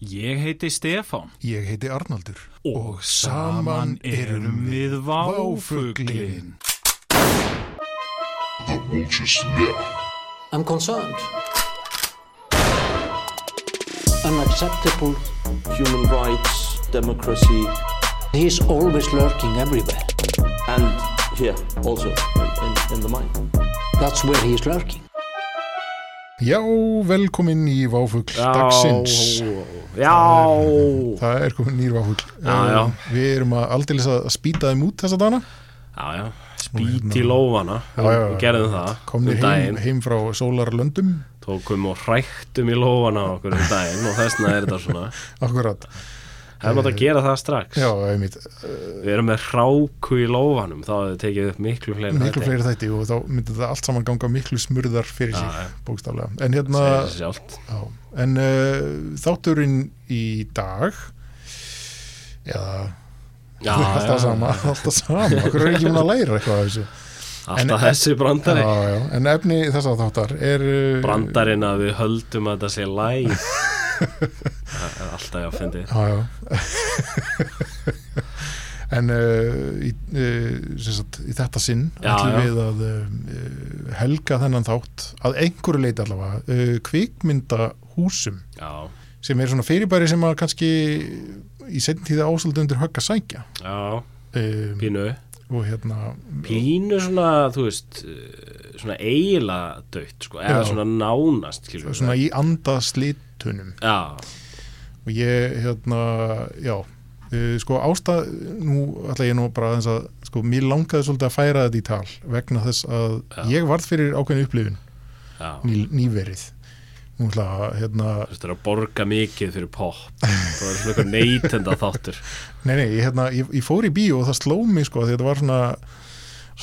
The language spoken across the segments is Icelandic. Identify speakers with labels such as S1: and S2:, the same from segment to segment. S1: Ég heiti Stefán
S2: Ég heiti Arnaldur
S1: og saman erum við Váfuglin.
S3: I'm concerned. Unacceptable.
S4: human rights, democracy,
S3: He's always lurking everywhere.
S4: and here also in, in, in the mind.
S3: That's where he's lurking.
S2: Já, velkomin í Váfugl dagsins.
S1: Já,
S2: Það er komin nýr Váfugl. Um,
S1: Já, já.
S2: Við erum að aldeilis að spýta þeim út þessa dana.
S1: já, já, spýt í lófana,
S2: hérna. Já, já, já.
S1: við gerðum það
S2: Komnir
S1: um
S2: heim,
S1: daginn,
S2: heim frá sólarlöndum.
S1: tókum og hræktum í lófana á okkur um daginn og þessna er þetta svona,
S2: Akkurat.
S1: það er maður að gera það strax,
S2: Já, einmitt.
S1: við erum með hráku í lófanum, þá hefði tekið upp miklu fleiri
S2: Miklu fleiri þætti og þá myndi þetta allt saman ganga miklu smurðar fyrir sig,
S1: já.
S2: bókstaflega. En hérna,
S1: segir þessi sjálft,
S2: já, en uh, þátturinn í dag, eða,
S1: já,
S2: alltaf
S1: já,
S2: sama, alltaf sama. Okkur er ekki mun að læra eitthvað af þessu. En-
S1: alltaf þessi brandari,
S2: Já, já, en efni þessa þáttar er
S1: Mm.
S2: uh,
S1: brandarinn að við höldum að þetta sé læg, það er alltaf ég að fyndi,
S2: Já, já En uh, í, uh, sem sagt, í þetta sinn
S1: Já,
S2: ætlum
S1: já.
S2: við að uh, helga þennan þátt að einhverju leiti allavega uh, kvikmyndahúsum
S1: já,
S2: sem er svona fyrirbæri sem að kannski í setjum tíða ásaldum undir högg að sækja
S1: já,
S2: um,
S1: pínu,
S2: og hérna
S1: pínu svona, þú veist eh, svona eiginlega dött sko, eða
S2: Já.
S1: svona nánast skilur við
S2: svona í andaslitunum
S1: það. já,
S2: og ég hérna, já uh, sko ástæð, nú ætla ég nú bara aðeins að, sko, mér langaði svolítið að færa þetta í tal vegna þess að
S1: Já.
S2: ég varð fyrir ákveðin upplifun
S1: já,
S2: ný, nýverið nú ætla að, hérna,
S1: þú veist það er að borga mikið fyrir pop það er svona eitthvað neytenda þáttur
S2: nei nei, ég, hérna ég, ég fór í bíó og það sló mig, sko, því þetta var svona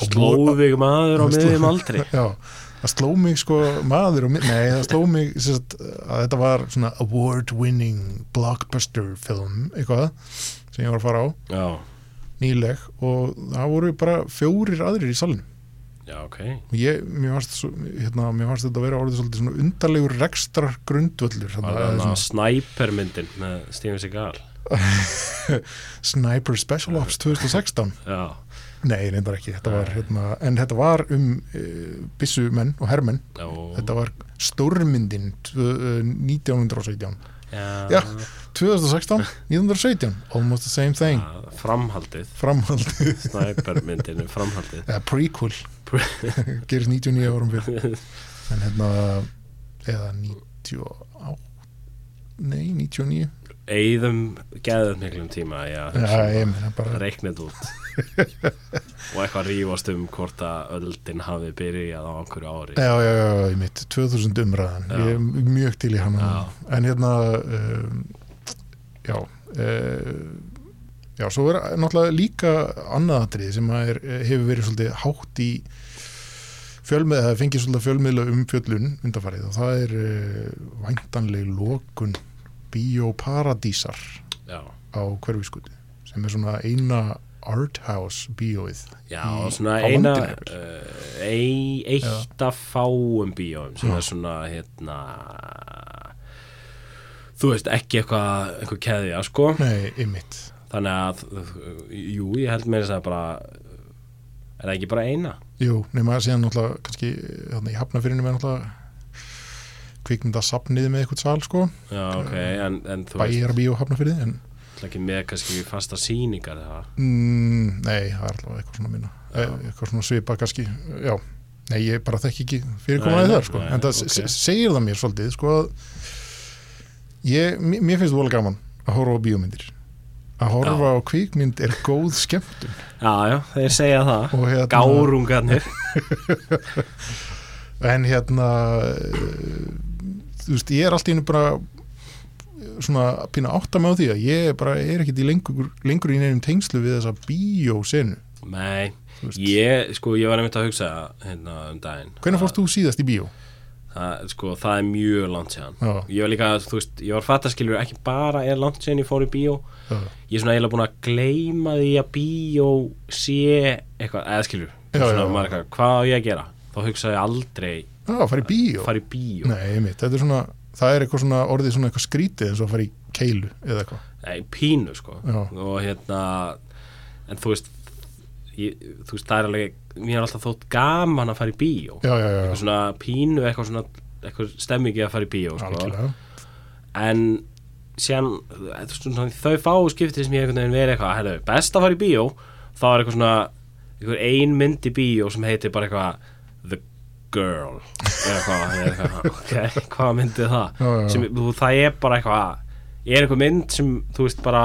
S1: slóðig maður á
S2: Sló-
S1: miðjum aldri
S2: já, það sló mig, sko, maður og, mi- nei, það sló mig, sem sagt, að þetta var svona award winning blockbuster film, eitthvað sem ég var að fara á,
S1: já,
S2: nýleg og það voru bara fjórir aðrir í salinu
S1: já, ok
S2: og ég, mér varst, svo- hérna, mér varst þetta að vera orðið svolítið svona undarlegur rekstrar grundvöllur
S1: var
S2: þannig
S1: það
S2: að
S1: svona snæpermyndin með Steven Seagal
S2: Sniper Special Ops 2016
S1: já,
S2: nei, reyndar ekki, þetta var hérna, en þetta var um e, bissumenn og hermenn
S1: já,
S2: þetta var stórmyndin tvö- eh, 1917 já,
S1: já,
S2: 2016, 1917 almost the same thing,
S1: já framhaldið
S2: framhaldið
S1: snæpermyndin er framhaldið
S2: eða prequel gerist 99 árum fyrir en hérna eða 98 nei, 99
S1: eigðum geðum miklum tíma já,
S2: Já, ég meina bara
S1: reiknið út og eitthvað rífast um hvort að öldin hafi byrjað á einhverju ári
S2: Já, já, já, ég mitt, 2000 umræðan
S1: Já.
S2: Ég er mjög til í hana
S1: Já.
S2: En hérna um, Já uh, Já, svo er náttúrulega líka annaðatrið sem að er, eh, hefur verið svolítið hátt í fjölmið, það fengið svolítið fjölmiðla um fjöllun undanfarið og það er uh, væntanleg lokun bíóparadísar
S1: já,
S2: á hverfiskutu sem er svona eina arthouse bíóið
S1: já
S2: Í-
S1: og svona
S2: á
S1: eina
S2: landinu, jafnvel.
S1: uh, ein, eitt af fáum bíóum sem
S2: Já.
S1: er svona hérna þú veist ekki eitthvað eitthvað keðja sko
S2: Nei, ymmit
S1: þannig að jú ég held með þess að segja bara er það ekki bara eina
S2: Jú, nema að síðan náttúrulega kannski þannig í hafnafyrinu með náttúrulega kvikmynda sapnið með eitthvað sal sko,
S1: já ok en, en þú veist
S2: bæjarbíó hafnafyrði en
S1: ætla ekki með kannski fasta sýningar það
S2: mm, nei, það er allavega eitthvað svona minna e, eitthvað svona svipa kannski, já nei, ég bara þekki ekki
S1: Nei,
S2: fyrirkomaði
S1: nei,
S2: þar sko,
S1: nei,
S2: en það
S1: ok.
S2: okay. segir það mér svolítið sko að ég, mér- mér finnst vola gaman að horfa á bíómyndir að horfa á kvikmynd er góð skemmtun
S1: já já þeir segja það
S2: og hérna
S1: gárungarnir
S2: en hérna eh, þú veist, ég er allt í einu bara svona að pína að átta mig á því að ég bara er ekkit í lengur, lengur í neinum tengslu við þessa bíósenu
S1: Nei,
S2: Þú veist.
S1: ég, sko, ég var einmitt að hugsa hérna um daginn
S2: hvernig fórst þú síðast í bíó?
S1: það, sko, það er mjög langt séðan
S2: Já.
S1: Ég var líka, þú veist, ég var fattaskilur ekki bara er langt séðan ég fór í bíó
S2: Já.
S1: Ég er svona eiginlega búin að gleyma því að bíó sé eitthvað, eða skilur
S2: Já, já, já.
S1: Marga, Hvað á ég að gera? Þá hugsa ég aldrei
S2: Já, að fara í bíó
S1: fara í bíó
S2: Nei, mitt, þetta er svona, það er eitthvað svona orðið svona eitthvað skrítið eins og að fara í keilu eða eitthvað
S1: Nei, pínu sko
S2: Já.
S1: og hérna en þú veist ég, þú veist, það er alveg, mér er alltaf þótt gaman að fara í bíó
S2: já, já, já,
S1: eitthvað
S2: já,
S1: svona pínu, eitthvað svona eitthvað stemmingi að fara í bíó sko.
S2: algjörlega
S1: en síðan þú veist, svona, þau fá skipti sem ég einhvern veginn verið eitthvað herðu, best að fara í bíó þá er eitthvað svona einhver ein mynd í bíó sem heitir bara eitthvað The Girl eða eitthvað, eða eitthvað ok, hvað myndið það
S2: Já, já, já.
S1: Sem, þú, það er bara eitthvað er eitthvað mynd sem þú veist bara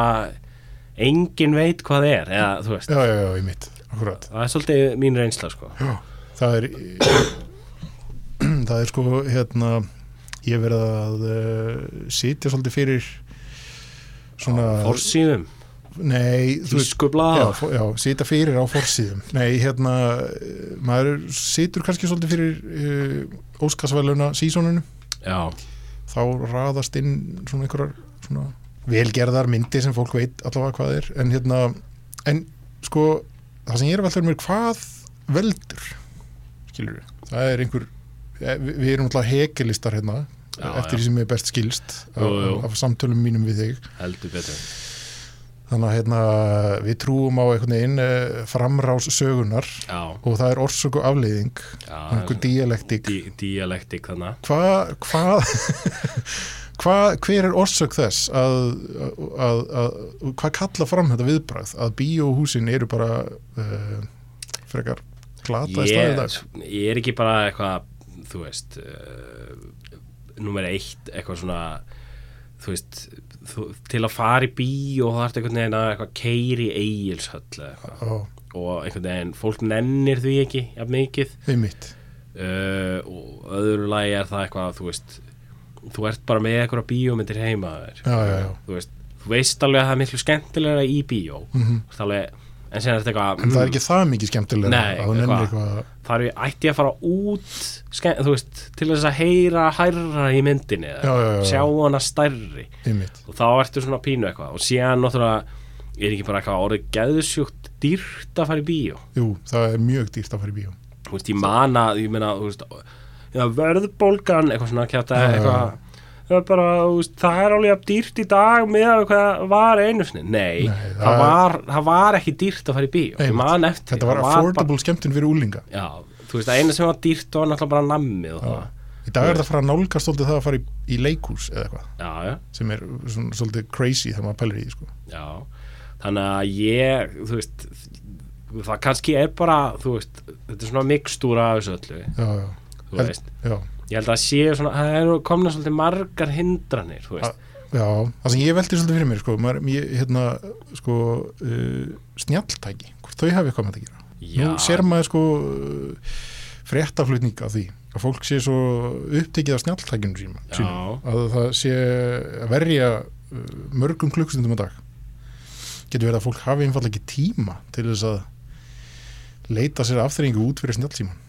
S1: engin veit hvað er eða þú veist,
S2: já, já, já, í mitt, akkurat
S1: það er svolítið mín reynsla sko
S2: já, það er það er sko hérna ég hef verið að uh, sitja svolítið fyrir svona
S1: Fórsýðum,
S2: nei, þú veist já,
S1: tískublað
S2: fó- já, sita fyrir á forsíðum nei, hérna, eh, maður situr kannski svolítið fyrir uh, óskarsvæluna sísónunum
S1: Já,
S2: þá raðast inn svona einhverjar svona velgerðar myndi sem fólk veit allavega hvað er en hérna, en sko það sem ég er að velta um er hvað veldur skilur við, það er einhver eh, vi- við erum alltaf hekilistar hérna
S1: Já,
S2: eftir
S1: já.
S2: því sem er best skilst af,
S1: Jú, jú.
S2: af samtölum mínum við þig
S1: heldur betur
S2: þannig að hérna, við trúum á einhvern veginn eh, framrás sögunar
S1: Já,
S2: og það er orsök og afleiðing
S1: já
S2: einhver dialektik
S1: dí, dialektik þannig
S2: hvað hva, hva, hver er orsök þess að, að, að, hvað kalla fram þetta viðbragð að bíóhúsin eru bara uh, frekar glata í staðið dag
S1: ég er ekki bara eitthvað þú veist uh, nummer eitt, eitthvað svona þú veist þú, til að fara í bí og það er einhvern veginn að eitthvað keiri eigilshöll eða eitthvað.
S2: Ó,
S1: og einhvern veginn, fólk nennir því ekki jafn mikið
S2: einmitt
S1: uh, og öðru lagi er það eitthvað þú veist, þú ert bara með eitthvað bíómyndir heima þér.
S2: Já, já, já.
S1: þú veist, þú veist alveg að það er miklu skemmtilega í bíó
S2: Mhm.
S1: Þú veist alveg, en sen er þetta eitthvað
S2: en það er
S1: mm,
S2: ekki það mikið skemmtilega
S1: Nei,
S2: að hún nefnir
S1: eitthvað.
S2: eitthvað
S1: þar er- ætti ég að fara út ske- þú veist, til þess að heyra hærra í myndinni eða
S2: Já, já, já, já.
S1: sjá hana stærri
S2: einmitt
S1: og þá ertu svona pínu eitthvað og síðan náttúrulega er ekki bara eitthvað orðið geðsjúkt dýrt að fara í bíó
S2: jú, það er mjög dýrt að fara í bíó
S1: þú veist, ég man að, ég meina, þú veist já, verðbólgan, eitthvað svona kjáta
S2: Já, já, já.
S1: eitthvað Það er bara, þú veist, það er alveg jafn dýrt í dag með að hvað var einu sinni. Nei,
S2: Nei,
S1: það,
S2: það-
S1: var, það var ekki dýrt að fara í bíó. Ég
S2: Einmitt.
S1: man eftir.
S2: þetta var
S1: það bara-
S2: affordable skemmtun fyrir úlinga
S1: Já, þú veist, að eina sem var dýrt var náttúrulega bara nammið og það.
S2: í dag er þetta að fara að nálgast svolítið það að fara í, í leikhús eða eitthvað
S1: Já, já,
S2: sem er svona, svolítið crazy þegar maður pælir í því sko.
S1: já. Þannig að ég, þú veist, það kannski er bara, þú veist, þetta er svona mikstúra af þessu öllu,
S2: já, já,
S1: þú
S2: Held-
S1: veist.
S2: já
S1: Ég held að séu svona, það eru komna svolítið margar hindranir, þú veist.
S2: Já, það sem ég veldi svolítið fyrir mér sko, maður, ég, hérna, sko uh, snjalltæki, hvort þau hafi eitthvað með þetta að gera
S1: Já,
S2: nú sér maður sko uh, fréttaflutning af því að fólk sé svo upptekið af snjalltækinu síma,
S1: Já.
S2: sínum að það sé að verja uh, mörgum klukkstundum á dag getur verið að fólk hafi einfallega ekki tíma til þess að leita sér afþreyingu út fyrir snjallsíman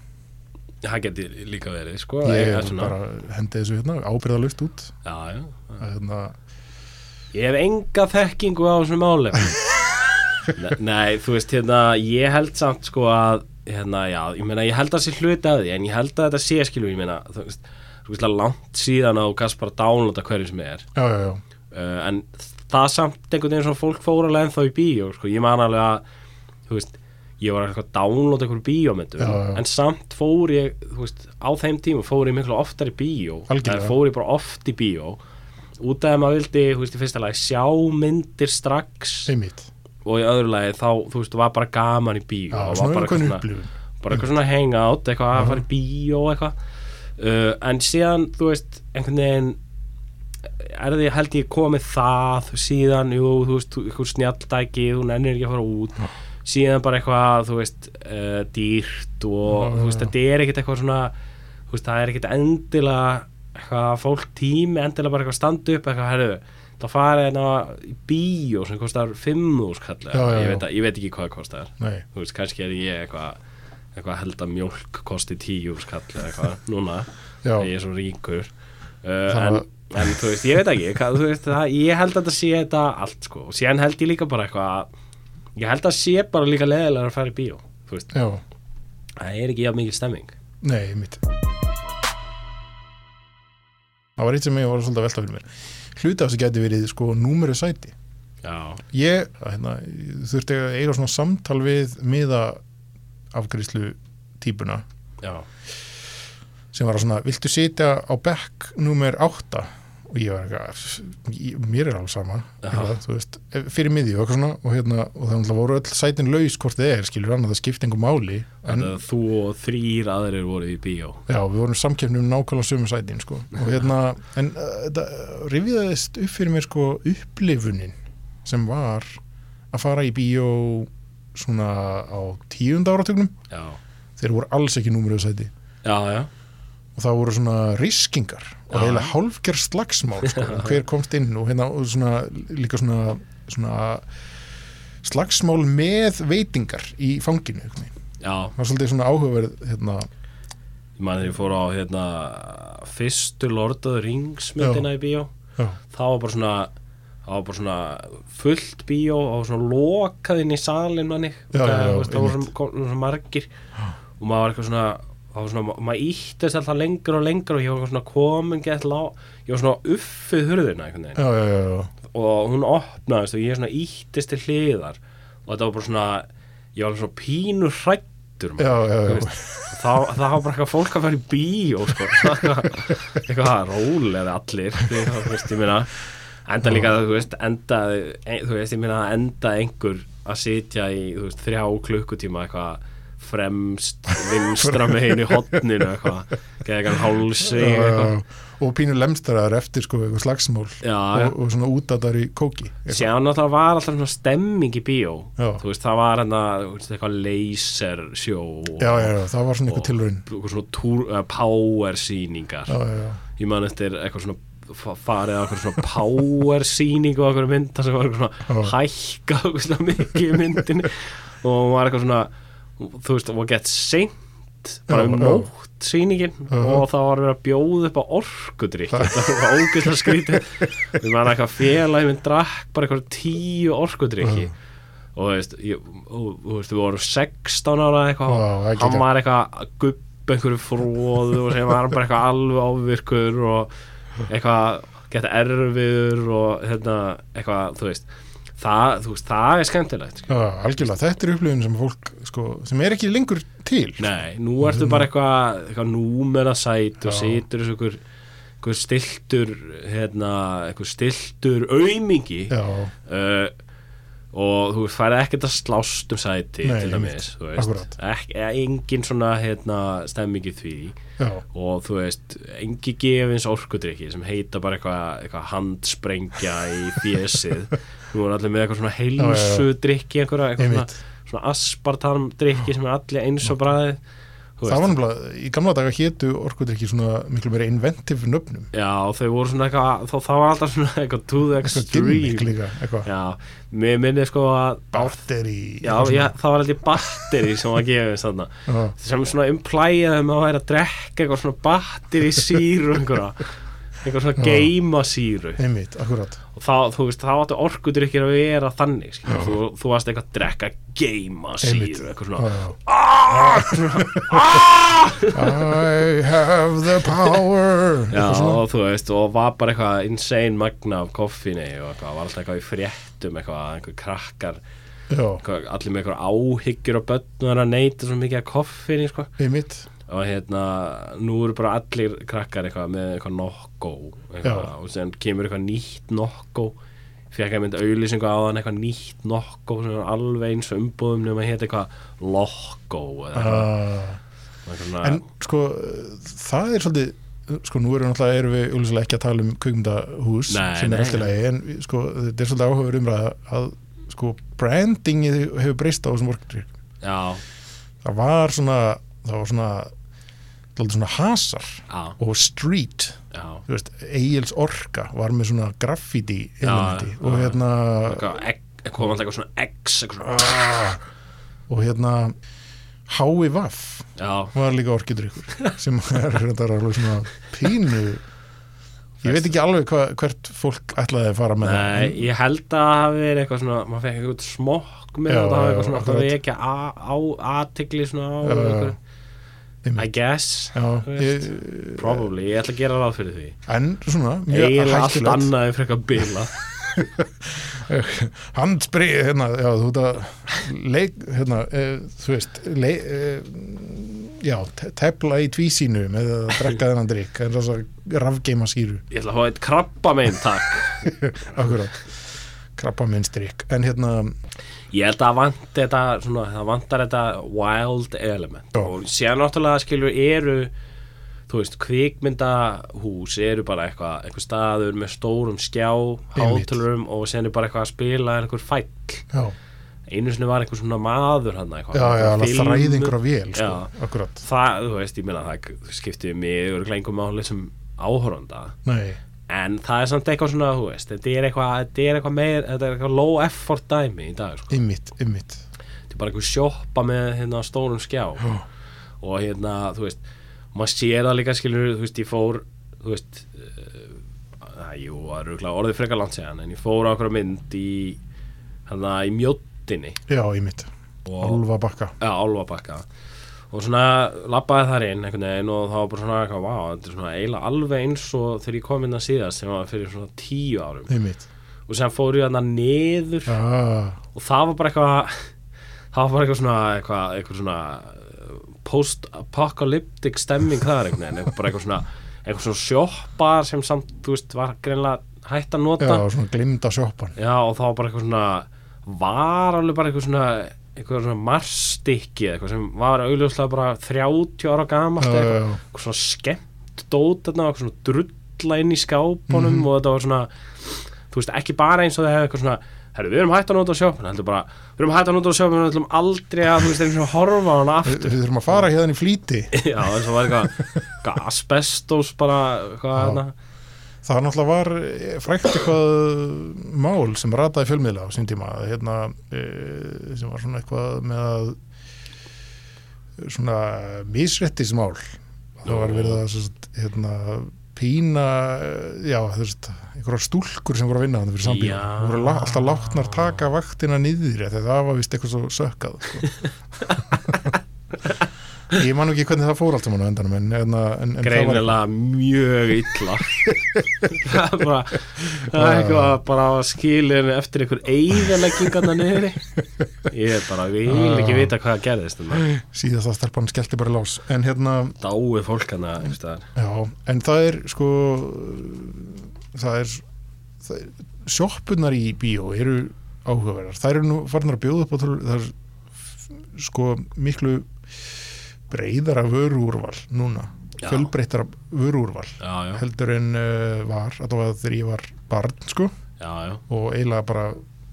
S1: það geti líka verið, sko.
S2: ég
S1: eitthvað
S2: er bara hendi þessu hérna, ábyrðalaust út
S1: Já, já.
S2: að, hérna,
S1: Ég hef enga þekkingu á þessum málefni. Ne- Nei, þú veist, hérna, ég held samt sko að, hérna, já, ég meina, ég held að sé hluti að því, en ég held að þetta sé, skilu, ég meina, þú veist, þú veist, langt síðan að þú gast bara að downloada hverju sem er,
S2: já, já, já
S1: uh, en það samt einhvern veginn svona fólk fór alveg ennþá í bíó, sko, ég man alveg að, þú veist, ég var eitthvað að downloada einhverju bíómyndum,
S2: Já, já.
S1: en samt fór ég, þú veist, á þeim tíma fór ég miklu oftar í bíó,
S2: Algjörlega.
S1: Eða fór ég bara oft í bíó, út af að maður vildi, þú veist, í fyrsta lagi sjá myndir strax
S2: einmitt,
S1: og í öðru lagi þá, þú veist, var bara gaman í bíó,
S2: já,
S1: Það var
S2: svona
S1: bara
S2: einhvern upplifun
S1: bara eitthvað svona hangout, eitthvað að fara í bíó eitthvað uh, en síðan, þú veist, einhvern veginn er því, held ég komið það síðan, jú, þú veist, þú- einhver snjalldæki, þú nennir ekki að fara út síðan bara eitthvað, þú veist uh, dýrt og
S2: Já,
S1: þú
S2: já,
S1: veist,
S2: já.
S1: þetta er ekkert eitthvað svona þú veist, það er ekkert endilega eitthvað fólk tími, endilega bara eitthvað standa upp eitthvað, herru, það fara hérna í bíó sem kostar 5 úrskall
S2: Já, já,
S1: ég,
S2: já.
S1: veit að- ég veit ekki hvað það kostar
S2: Nei,
S1: þú veist, kannski er ég eitthvað eitthvað held að mjólk kosti tíu skall eða eitthvað, núna
S2: já,
S1: þegar ég er svo ríkur uh,
S2: Það-
S1: en, en þú veist, ég veit ekki hvað, þú veist, það, ég held að þetta sé þetta allt sko, og síðan held ég líka bara eitthvað ég held að sé bara líka leðilega að fara í bíó, þú veist,
S2: já,
S1: það er ekki jafn mikil stemming
S2: nei, mitt það var eitt sem ég var svolítið að velta fyrir mér hluti af þessu gæti verið sko númeru sæti
S1: já,
S2: ég hérna, þurfti að eiga svona samtal við miða afgriðslu típuna
S1: já,
S2: sem var svona, viltu sitja á bekk númer 8 og ég var eitthvað, ég- mér er alveg sama
S1: Já.
S2: eitthvað, þú veist, ef- fyrir miðju og, eitthvað svona, og, hérna, og það náttúrulega voru öll sætin laus hvort þið er, skilur annað það skipti engu máli en
S1: þannig að þú og þrýr aðrir voru í bíó
S2: já, við vorum samkeppnum nákvæmlega sömu sætin sko. og hérna, en uh, það rifiðaðist upp fyrir mér sko upplifunin sem var að fara í bíó svona á tíunda áratugnum
S1: já,
S2: þeir voru alls ekki númeruðu sæti
S1: já, já,
S2: og það voru svona riskingar og
S1: Já.
S2: heila hálfgerð slagsmál sko, um hver komst inn og hérna og svona, líka svona, svona slagsmál með veitingar í fanginu einhvern veginn.
S1: já
S2: það var svolítið svona áhugaverð hérna,
S1: ég man þegar ég fór á hérna fyrstu Lord of the Rings myndina í bíó
S2: já,
S1: það var bara svona það var bara svona fullt bíó og svona lokað inn í salin manni
S2: Já,
S1: það,
S2: já, já,
S1: þú veist, það voru
S2: einmitt.
S1: svona, kom- svona margir og maður var eitthvað svona það var svona, ma- maður íttist alltaf lengur og lengur og ég var eitthvað svona komin gett lá ég var svona uppið hurðina einhvern veginn
S2: já, já, já, já.
S1: og hún opnaðist og ég svona íttist til hliðar og þetta var bara svona ég var alveg svona pínur hrættur
S2: Já, já, já.
S1: Það, það var bara eitthvað fólk að fara í bíó sko. eitthvað rólega allir þú veist, ég meina enda líka, þú veist, enda ein, þú veist, ég meina, enda einhver að sitja í, þú veist, þrjá klukkutíma eitthvað fremst vinstra megin í hotninu eitthvað, geða eitthvað hálsi
S2: já, já,
S1: eitthvað
S2: já. og pínu lemstraðar eftir sko, eitthvað slagsmál
S1: Já, já.
S2: og, og svona útadar í kóki eitthvað.
S1: Síðan náttúrulega var alltaf svona stemming í bíó
S2: Já.
S1: Þú veist, það var hérna, þú veist, eitthvað laser sjó og,
S2: já, já, já, það var svona
S1: og
S2: eitthvað tilraun
S1: eitthvað svona túr, uh, power sýningar
S2: já, já, já,
S1: Ég man eftir eitthvað svona fa- farið á eitthvað svona power sýning og eitthvað mynd þar sem var eitthvað svona
S2: Já.
S1: hækka eitthvað svona mikið í myndinni og hún var eitthvað svona, þú veist, og gett seint bara
S2: Já,
S1: um
S2: já.
S1: nótt sýningin
S2: Já.
S1: og það var verið að bjóða upp á orkudrykk þetta var ógeðslega skrítið við manna eitthvað félagi minn drakk bara eitthvað tíu orkudrykki og þú veist, ég, og, þú veist við vorum 16 ára eitthvað
S2: Já, það er
S1: hann
S2: geggjað.
S1: var eitthvað að gubba einhverju fróðu og sem var bara eitthvað alveg ávirkur og eitthvað geta erfiður og hérna, eitthvað, þú veist það, þú veist, það er skemmtilegt sko. skilur.
S2: já, algjörlega, þetta er upplifun sem fólk sko, sem er ekki lengur til
S1: nei, nú ertu bara eitthvað, eitthvað númerasæt og
S2: Já.
S1: situr þessu einhver, einhver stiltur hérna, einhver stiltur aumingi
S2: já,
S1: uh, og þú veist, færði ekkert að slást um sæti
S2: Nei,
S1: til dæmis,
S2: einmitt.
S1: þú veist
S2: Akkúrat.
S1: Ek, engin svona, hérna, stemmingi því
S2: já
S1: og þú veist, engi gefins orkudrykki sem heita bara eitthvað eitthva handsprengja í fjesið nú er allir með eitthvað svona heilsudrykki einhverja, eitthvað
S2: Einmitt.
S1: svona, svona aspartamdrykki sem er allir eins og bræðið þú
S2: Það
S1: veist.
S2: var náttúrulega, í gamla daga hétu orkudrykki svona miklu meira inventive nöfnum
S1: Já, þau voru svona eitthvað, þá, það var alltaf svona eitthvað to the
S2: eitthvað gimmick
S1: extreme
S2: líka, eitthvað
S1: Já, mér minni sko að
S2: batteri
S1: Já, já, það var alltaf batteri sem var gefið þarna
S2: já,
S1: sem svona implæjaði um að væri að drekka eitthvað svona batteri síru einhverja eitthvað svona geima síru
S2: einmitt, akkurat
S1: og þá, þú veist, þá áttu orkudrykkir að vera þannig, skilur, þú, þú varst eitthvað að drekka geima
S2: Einmitt.
S1: síru, eitthvað svona Ah!
S2: Já, já. I have the power
S1: Já,
S2: Eitthvað svona.
S1: og þú veist, og var bara eitthvað insane magna af koffinni og eitthvað, var alltaf eitthvað í fréttum eitthvað, einhver krakkar
S2: já,
S1: eitthvað, allir með eitthvað áhyggjur og börn og er að neyta svo mikið af koffinni, sko
S2: einmitt
S1: og hérna, nú eru bara allir krakkar eitthvað með eitthvað nokkó eitthvað,
S2: Já.
S1: og sen kemur eitthvað nýtt nokkó fekk að mynda auðlýsingu á þann eitthvað nýtt nokkó sem er alveg eins og umbúðum nema hétt eitthvað lokkó eða eitthvað,
S2: uh,
S1: eitthvað svona,
S2: en sko, það er svolítið sko, nú erum, náttúrulega- erum við úlislega ekki að tala um kvikmyndahús
S1: Nei,
S2: sem er
S1: nei,
S2: alltaf
S1: nei.
S2: lagi, en við- sko, þetta er svolítið áhugaður umræða að sko, brandingi hefur breyst á þessum orkudrykk
S1: já,
S2: það var svona það var svona dálítið svona hasar
S1: já,
S2: og street
S1: já
S2: þú veist, Egil's Orka var með svona graffiti
S1: Ah,
S2: elementi
S1: já,
S2: og
S1: já.
S2: hérna ah,
S1: eitthvað, egg, kom alltaf eitthvað svona x eitthvað svona,
S2: og hérna Hái Vaff
S1: já,
S2: var líka orkidrykkur sem er þetta alveg svona pínu ég veit ekki alveg hva, hvert fólk ætlaði að fara með
S1: nei,
S2: það
S1: ég held að það hafi verið eitthvað svona, maður fekk eitthvað smokk með
S2: Já,
S1: þetta, það hafi
S2: já,
S1: eitthvað svona,
S2: akkurat.
S1: það ekki á aðtigli svona á
S2: Já, já, já.
S1: einhverju- I guess,
S2: Já,
S1: Þú
S2: ég,
S1: veist. probably, ég ætla að gera ráð fyrir því
S2: en svona mjög
S1: eiginlega allt
S2: hættulegt
S1: annað er frekar bila
S2: handspri hérna, já, þú ert að leik, hérna, eh, þú veist leik, eh, já, te- tefla í tvísínu með að drekka þennan drikk en þess að rafgeima síru
S1: ég ætla að hafa eitt krabba megin takk
S2: akkurat, krabba minn drikk en hérna,
S1: ég held að vant þetta svona, það vantar þetta wild element
S2: Já.
S1: og séðan náttúrulega skilur eru þú veist, kvikmyndahús eru bara eitthvað, einhver staður með stórum skjá,
S2: Einmitt.
S1: hátölurum og séðan er bara eitthvað að spila einhver fæll
S2: já,
S1: einu sinni var einhver svona maður hann eitthvað,
S2: já, já,
S1: einhver
S2: alveg
S1: filmur.
S2: þræði einhverja vél, sko,
S1: Já.
S2: akkurat
S1: það, þú veist, ég meina það skipti mig örglega einhver máli sem áhoranda
S2: nei,
S1: en það er samt eitthvað svona, þú veist þetta er eitthvað, þetta er eitthvað meir þetta er eitthvað low effort dæmi í dag, sko
S2: ymmit, ymmit
S1: þetta er bara einhver sjoppa með hérna stórum skjá
S2: Já.
S1: og hérna, þú veist og maður sér það líka, skilur, þú veist, ég fór þú veist uh, að, jú, það eru örugglega orðið frekar langt séðan en ég fór á okkur mynd í hérna, í mjóttinni
S2: já, ymmit,
S1: og
S2: alva bakka
S1: Já, álfabakka og svona labbaði þar inn einhvern veginn og það var bara svona eitthvað, vá, þetta er svona eiginlega alveg eins og þegar ég kom inn að síðast sem var fyrir svona tíu árum
S2: ymmit,
S1: og sem fór ég þarna niður
S2: já,
S1: og það var bara eitthvað það var bara eitthvað svona eitthvað, eitthvað svona uh, post-apocalyptic stemming þar einhvern veginn, eitthvað bara eitthvað svona eitthvað svona sjoppa sem samt, þú veist, var greinlega hætt að
S2: já,
S1: nota
S2: svona glimda sjoppan
S1: Já, og það var bara eitthvað svona var alveg bara eitthvað svona eitthvað svona marsstykki eða eitthvað sem var augljóslega bara 30 ára gamalt eða
S2: Já, já,
S1: eitthvað,
S2: já.
S1: eitthvað svona skemmt dót þarna, eitthvað svona drulla inn í skápunum
S2: Mhm.
S1: og þetta var svona þú veist, ekki bara eins og það hefði eitthvað svona herru, við erum hægt að nota á sjópuna, heldur bara við erum hægt að nota á sjópuna, heldur aldrei að þú veist, einhvern veginn að horfa á hana aftur
S2: Við, við þurfum að fara hérna í flýti
S1: já, eins og var eitthvað, eitthvað asbestos bara, eitthvað
S2: Já.
S1: hérna
S2: Það náttúrulega var eh, frækt eitthvað mál sem rataði fjölmiðla á sín tíma hérna, eh, sem var svona eitthvað með að svona misréttismál það var verið að sem sagt, hérna, pína eh, já, þú veist, einhverjar stúlkur sem voru að vinna þannig fyrir sambíðan,
S1: Já.
S2: það voru lá- alltaf látnar taka vaktina niður þegar það var vist eitthvað svo sökkað sko. ég man nú ekki hvernig það fór allt saman á endanum en, en, en, en það var-
S1: greinilega mjög illa það er bara það er eitthvað bara skilin eftir einhver eigðaleggingarna niður ég er bara, ég vil ekki vita hvað gerðist þannig
S2: síðast að stelpan skellti bara í lás en hérna,
S1: dáið fólk hana einhvers staðar.
S2: já, en það er sko það er, það er sjoppunar í bíó eru áhugaverðar, það eru nú farnar að bjóða upp á töl- það er f- sko miklu breyðara vörúrval núna
S1: Já.
S2: fjölbreyttara vörúrval
S1: já, já,
S2: heldur en uh, var allavega þegar ég var barn sko
S1: já, já
S2: og eiginlega bara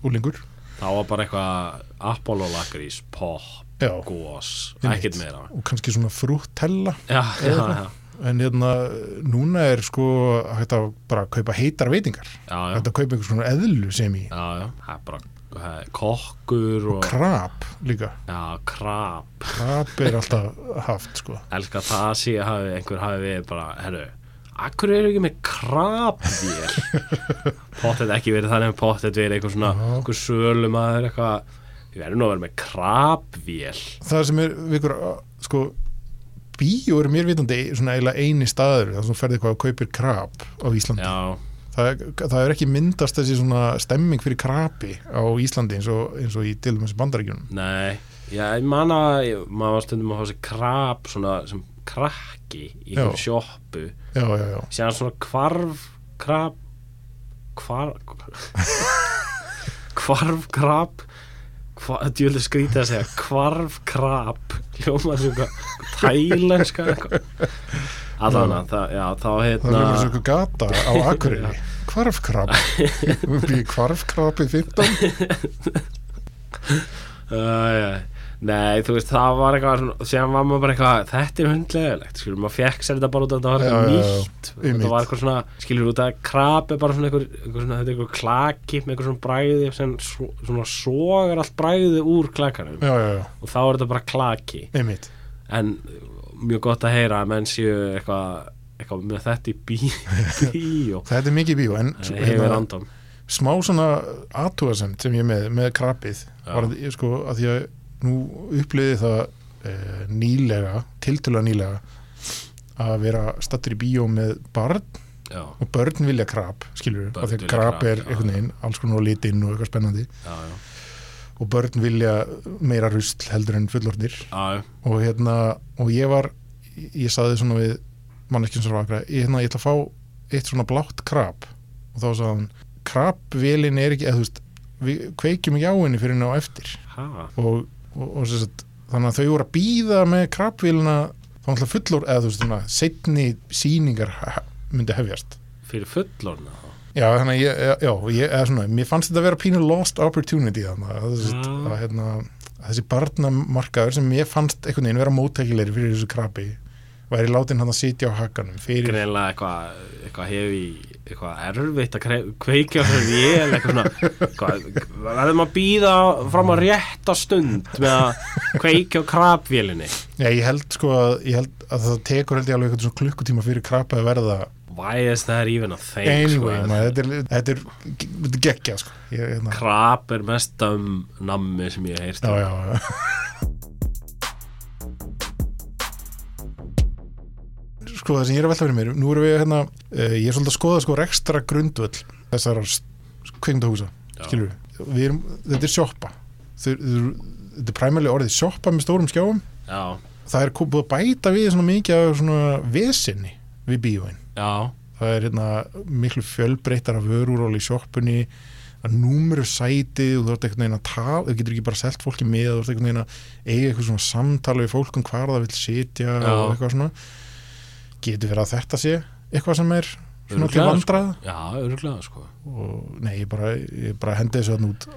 S2: úlingur
S1: það var bara eitthvað Apollo-lakrís, pop,
S2: já,
S1: gos
S2: einmitt.
S1: ekkert meira
S2: og kannski svona frúttella
S1: já, já, já,
S2: En hérna, núna er sko hægt að bara kaupa heitar veitingar
S1: já, já,
S2: hægt að kaupa einhvers konar eðlu sem í
S1: já, já. það er bara það er kokkur og
S2: krab líka,
S1: já, krab
S2: krab er alltaf haft sko,
S1: elska það að sé að einhver hafi verið bara, herru, akkur eru ekki með krabvél pottet ekki verið þannig en pottet verið einhver svona,
S2: Já.
S1: einhver sölumæður eitthvað, við verðum nú að vera með krabvél
S2: það sem er við ykkur, sko bíó er mér vitandi svona eiginlega eini staður þar sem þú ferði eitthvað og kaupir krab á Íslandi,
S1: já,
S2: það, það er ekki myndast þessi svona stemming fyrir krabi á Íslandi eins og, eins og í til dæmis bandaríkjunum,
S1: nei já, ég man að, ég- maður var stundum að fá sér krab svona, sem krakki í
S2: Já.
S1: einhver sjoppu,
S2: já, já, já
S1: séðan svona kvarf krab kvarf kvarf krab hva, djúlega skrítið að segja kvarf krab hljóma sem hvað tælenska allan það, já, þá
S2: Það er bara
S1: hérna
S2: svona gata á Akureyri Hvarfkrab Býr hvarfkrab í 15
S1: uh, nei, þú veist, það var eitthvað svona- síðan var maður bara eitthvað, þetta er hundlegilegt skilur, maður fekk sér þetta bara út að þetta var
S2: Já, já,
S1: eitthvað
S2: já.
S1: nýtt
S2: Einmitt.
S1: þetta var eitthvað svona, skilur út að krab er bara svona eitthvað, eitthvað svona, þetta er eitthvað klaki með eitthvað svona bræði sem svo- svona sogar allt bræði úr klakanum
S2: Já, já, já,
S1: og þá er þetta bara klaki
S2: einmitt
S1: en mjög gott að heyra að menn séu eitthvað eitthvað með þetta í bí, bíó
S2: Þetta er mikið í bíó, en svo-
S1: það
S2: hérna-
S1: hefur random
S2: smá svona atúasend sem ég er með, með krabbið
S1: Já.
S2: var að, ég, sko, að því að nú upplýði það uh, nýlega, tiltölulega nýlega að vera stattur í bíó með barn
S1: já,
S2: og börn vilja krab, skilur við
S1: Börn
S2: og þegar
S1: vilja
S2: krab
S1: krab,
S2: er
S1: já,
S2: einhvern veginn alls konar á litinn og eitthvað spennandi
S1: já, já,
S2: og börn vilja meira rusl heldur en fullorðnir
S1: já, já.
S2: og hérna, og ég var ég saði svona við manneskjum sem var akra, ég, hérna, ég ætla að fá eitt svona blátt krab og þá sagði hann krabvélin er ekki, eða þú veist við kveikjum ekki á henni fyrir henni á eftir
S1: Ha,
S2: og, og, og sem sagt, þannig að þau voru að býða með krabvélina þá náttúrulega fullor, eða þú veist svona setni sýningar ha- myndi hefjast
S1: fyrir fullorna þá
S2: Já, þannig að ég, já, ég, eða svona, mér fannst þetta að vera pínu lost opportunity þannig að, þessi,
S1: Já.
S2: að, hérna, að þessi barnamarkaður sem ég fannst einhvern veginn vera móttækilegri fyrir þessu krabi væri látin hann að sitja á hakanum fyrir,
S1: greinlega eitthvað eitthva hefi eitthvað erfitt að kre- kveikja þau vél eitthvað svona eitthvað, verðum að býða fram á rétta stund með að kveikja á krabvélinni
S2: já, ég held sko að, ég held að það tekur held ég alveg einhvern svona klukkutíma fyrir krabba að verða
S1: why is that even a thing
S2: anyway,
S1: sko?
S2: maður, þetta er, þetta er, þetta er geggja sko, ég, hérna,
S1: krab er mest um nammi sem ég heist
S2: já, já, já sko það sem ég er að velta fyrir mér nú erum við hérna, uh, ég er svolítið að skoða sko rekstra grundvöll þessar kveimdahúsa,
S1: Já.
S2: skilur við, við erum, þetta er sjoppa Þau- þau- þetta er præmæli orðið sjoppa með stórum skjáum
S1: já,
S2: það er kom- búið að bæta við svona mikið af svona vesinni við bíóin
S1: já,
S2: það er hérna miklu fjölbreyttar af vöruról í sjoppunni að númuru sæti þú þarf einhvern veginn að tala, þú getur ekki bara selt fólki með þú þarf einhvern veginn að eiga eitthvað svona samtala við fólk um hvar það vil sitja
S1: Já.
S2: og eitthvað svona getur verið að þetta sé eitthvað sem er svona til
S1: Örugglega, sko.
S2: vandrað
S1: já, örgulega sko
S2: og nei, ég bara, ég bara hendi þessu þarna út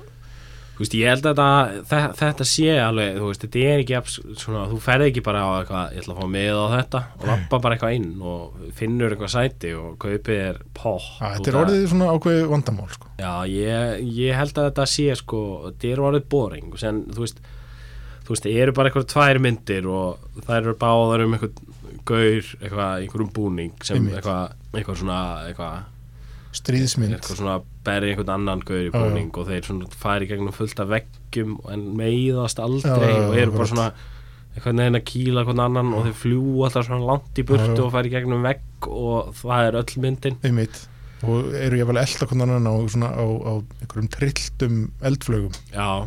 S1: Þú veist, ég held að þetta, þe- þetta sé alveg, þú veist, þetta er ekki jafn s- svona, þú ferð ekki bara á eitthvað, ég ætla að fá með á þetta og lappa bara eitthvað inn og finnur eitthvað sæti og kaupið er poh.
S2: að þetta er orðið svona ákveðið vandamál sko.
S1: Já, ég, ég held að þetta sé sko, þetta er orðið boring og sen, þú veist, þú veist, eru bara eitthvað tvær myndir og þær eru báðar um eitthvað gaur, eitthvað, einhverjum búning sem
S2: Einmitt.
S1: eitthvað, eitthvað svona, eitthvað
S2: stríðsmynd
S1: eitthvað svona berja einhvern annan gaur í
S2: já.
S1: búning og þeir svona fari í gegnum fullt af veggjum en meiðast aldrei
S2: Já, já, já,
S1: og eru bara
S2: akkurat.
S1: svona eitthvað neðin að kýla hvern annan og þeir fljú alltaf svona langt í burtu
S2: Já, já.
S1: og fari í gegnum vegg og það er öll myndin
S2: einmitt og eru ég vel elda konan annan á, svona, á, á einhverjum trilltum eldflögum
S1: já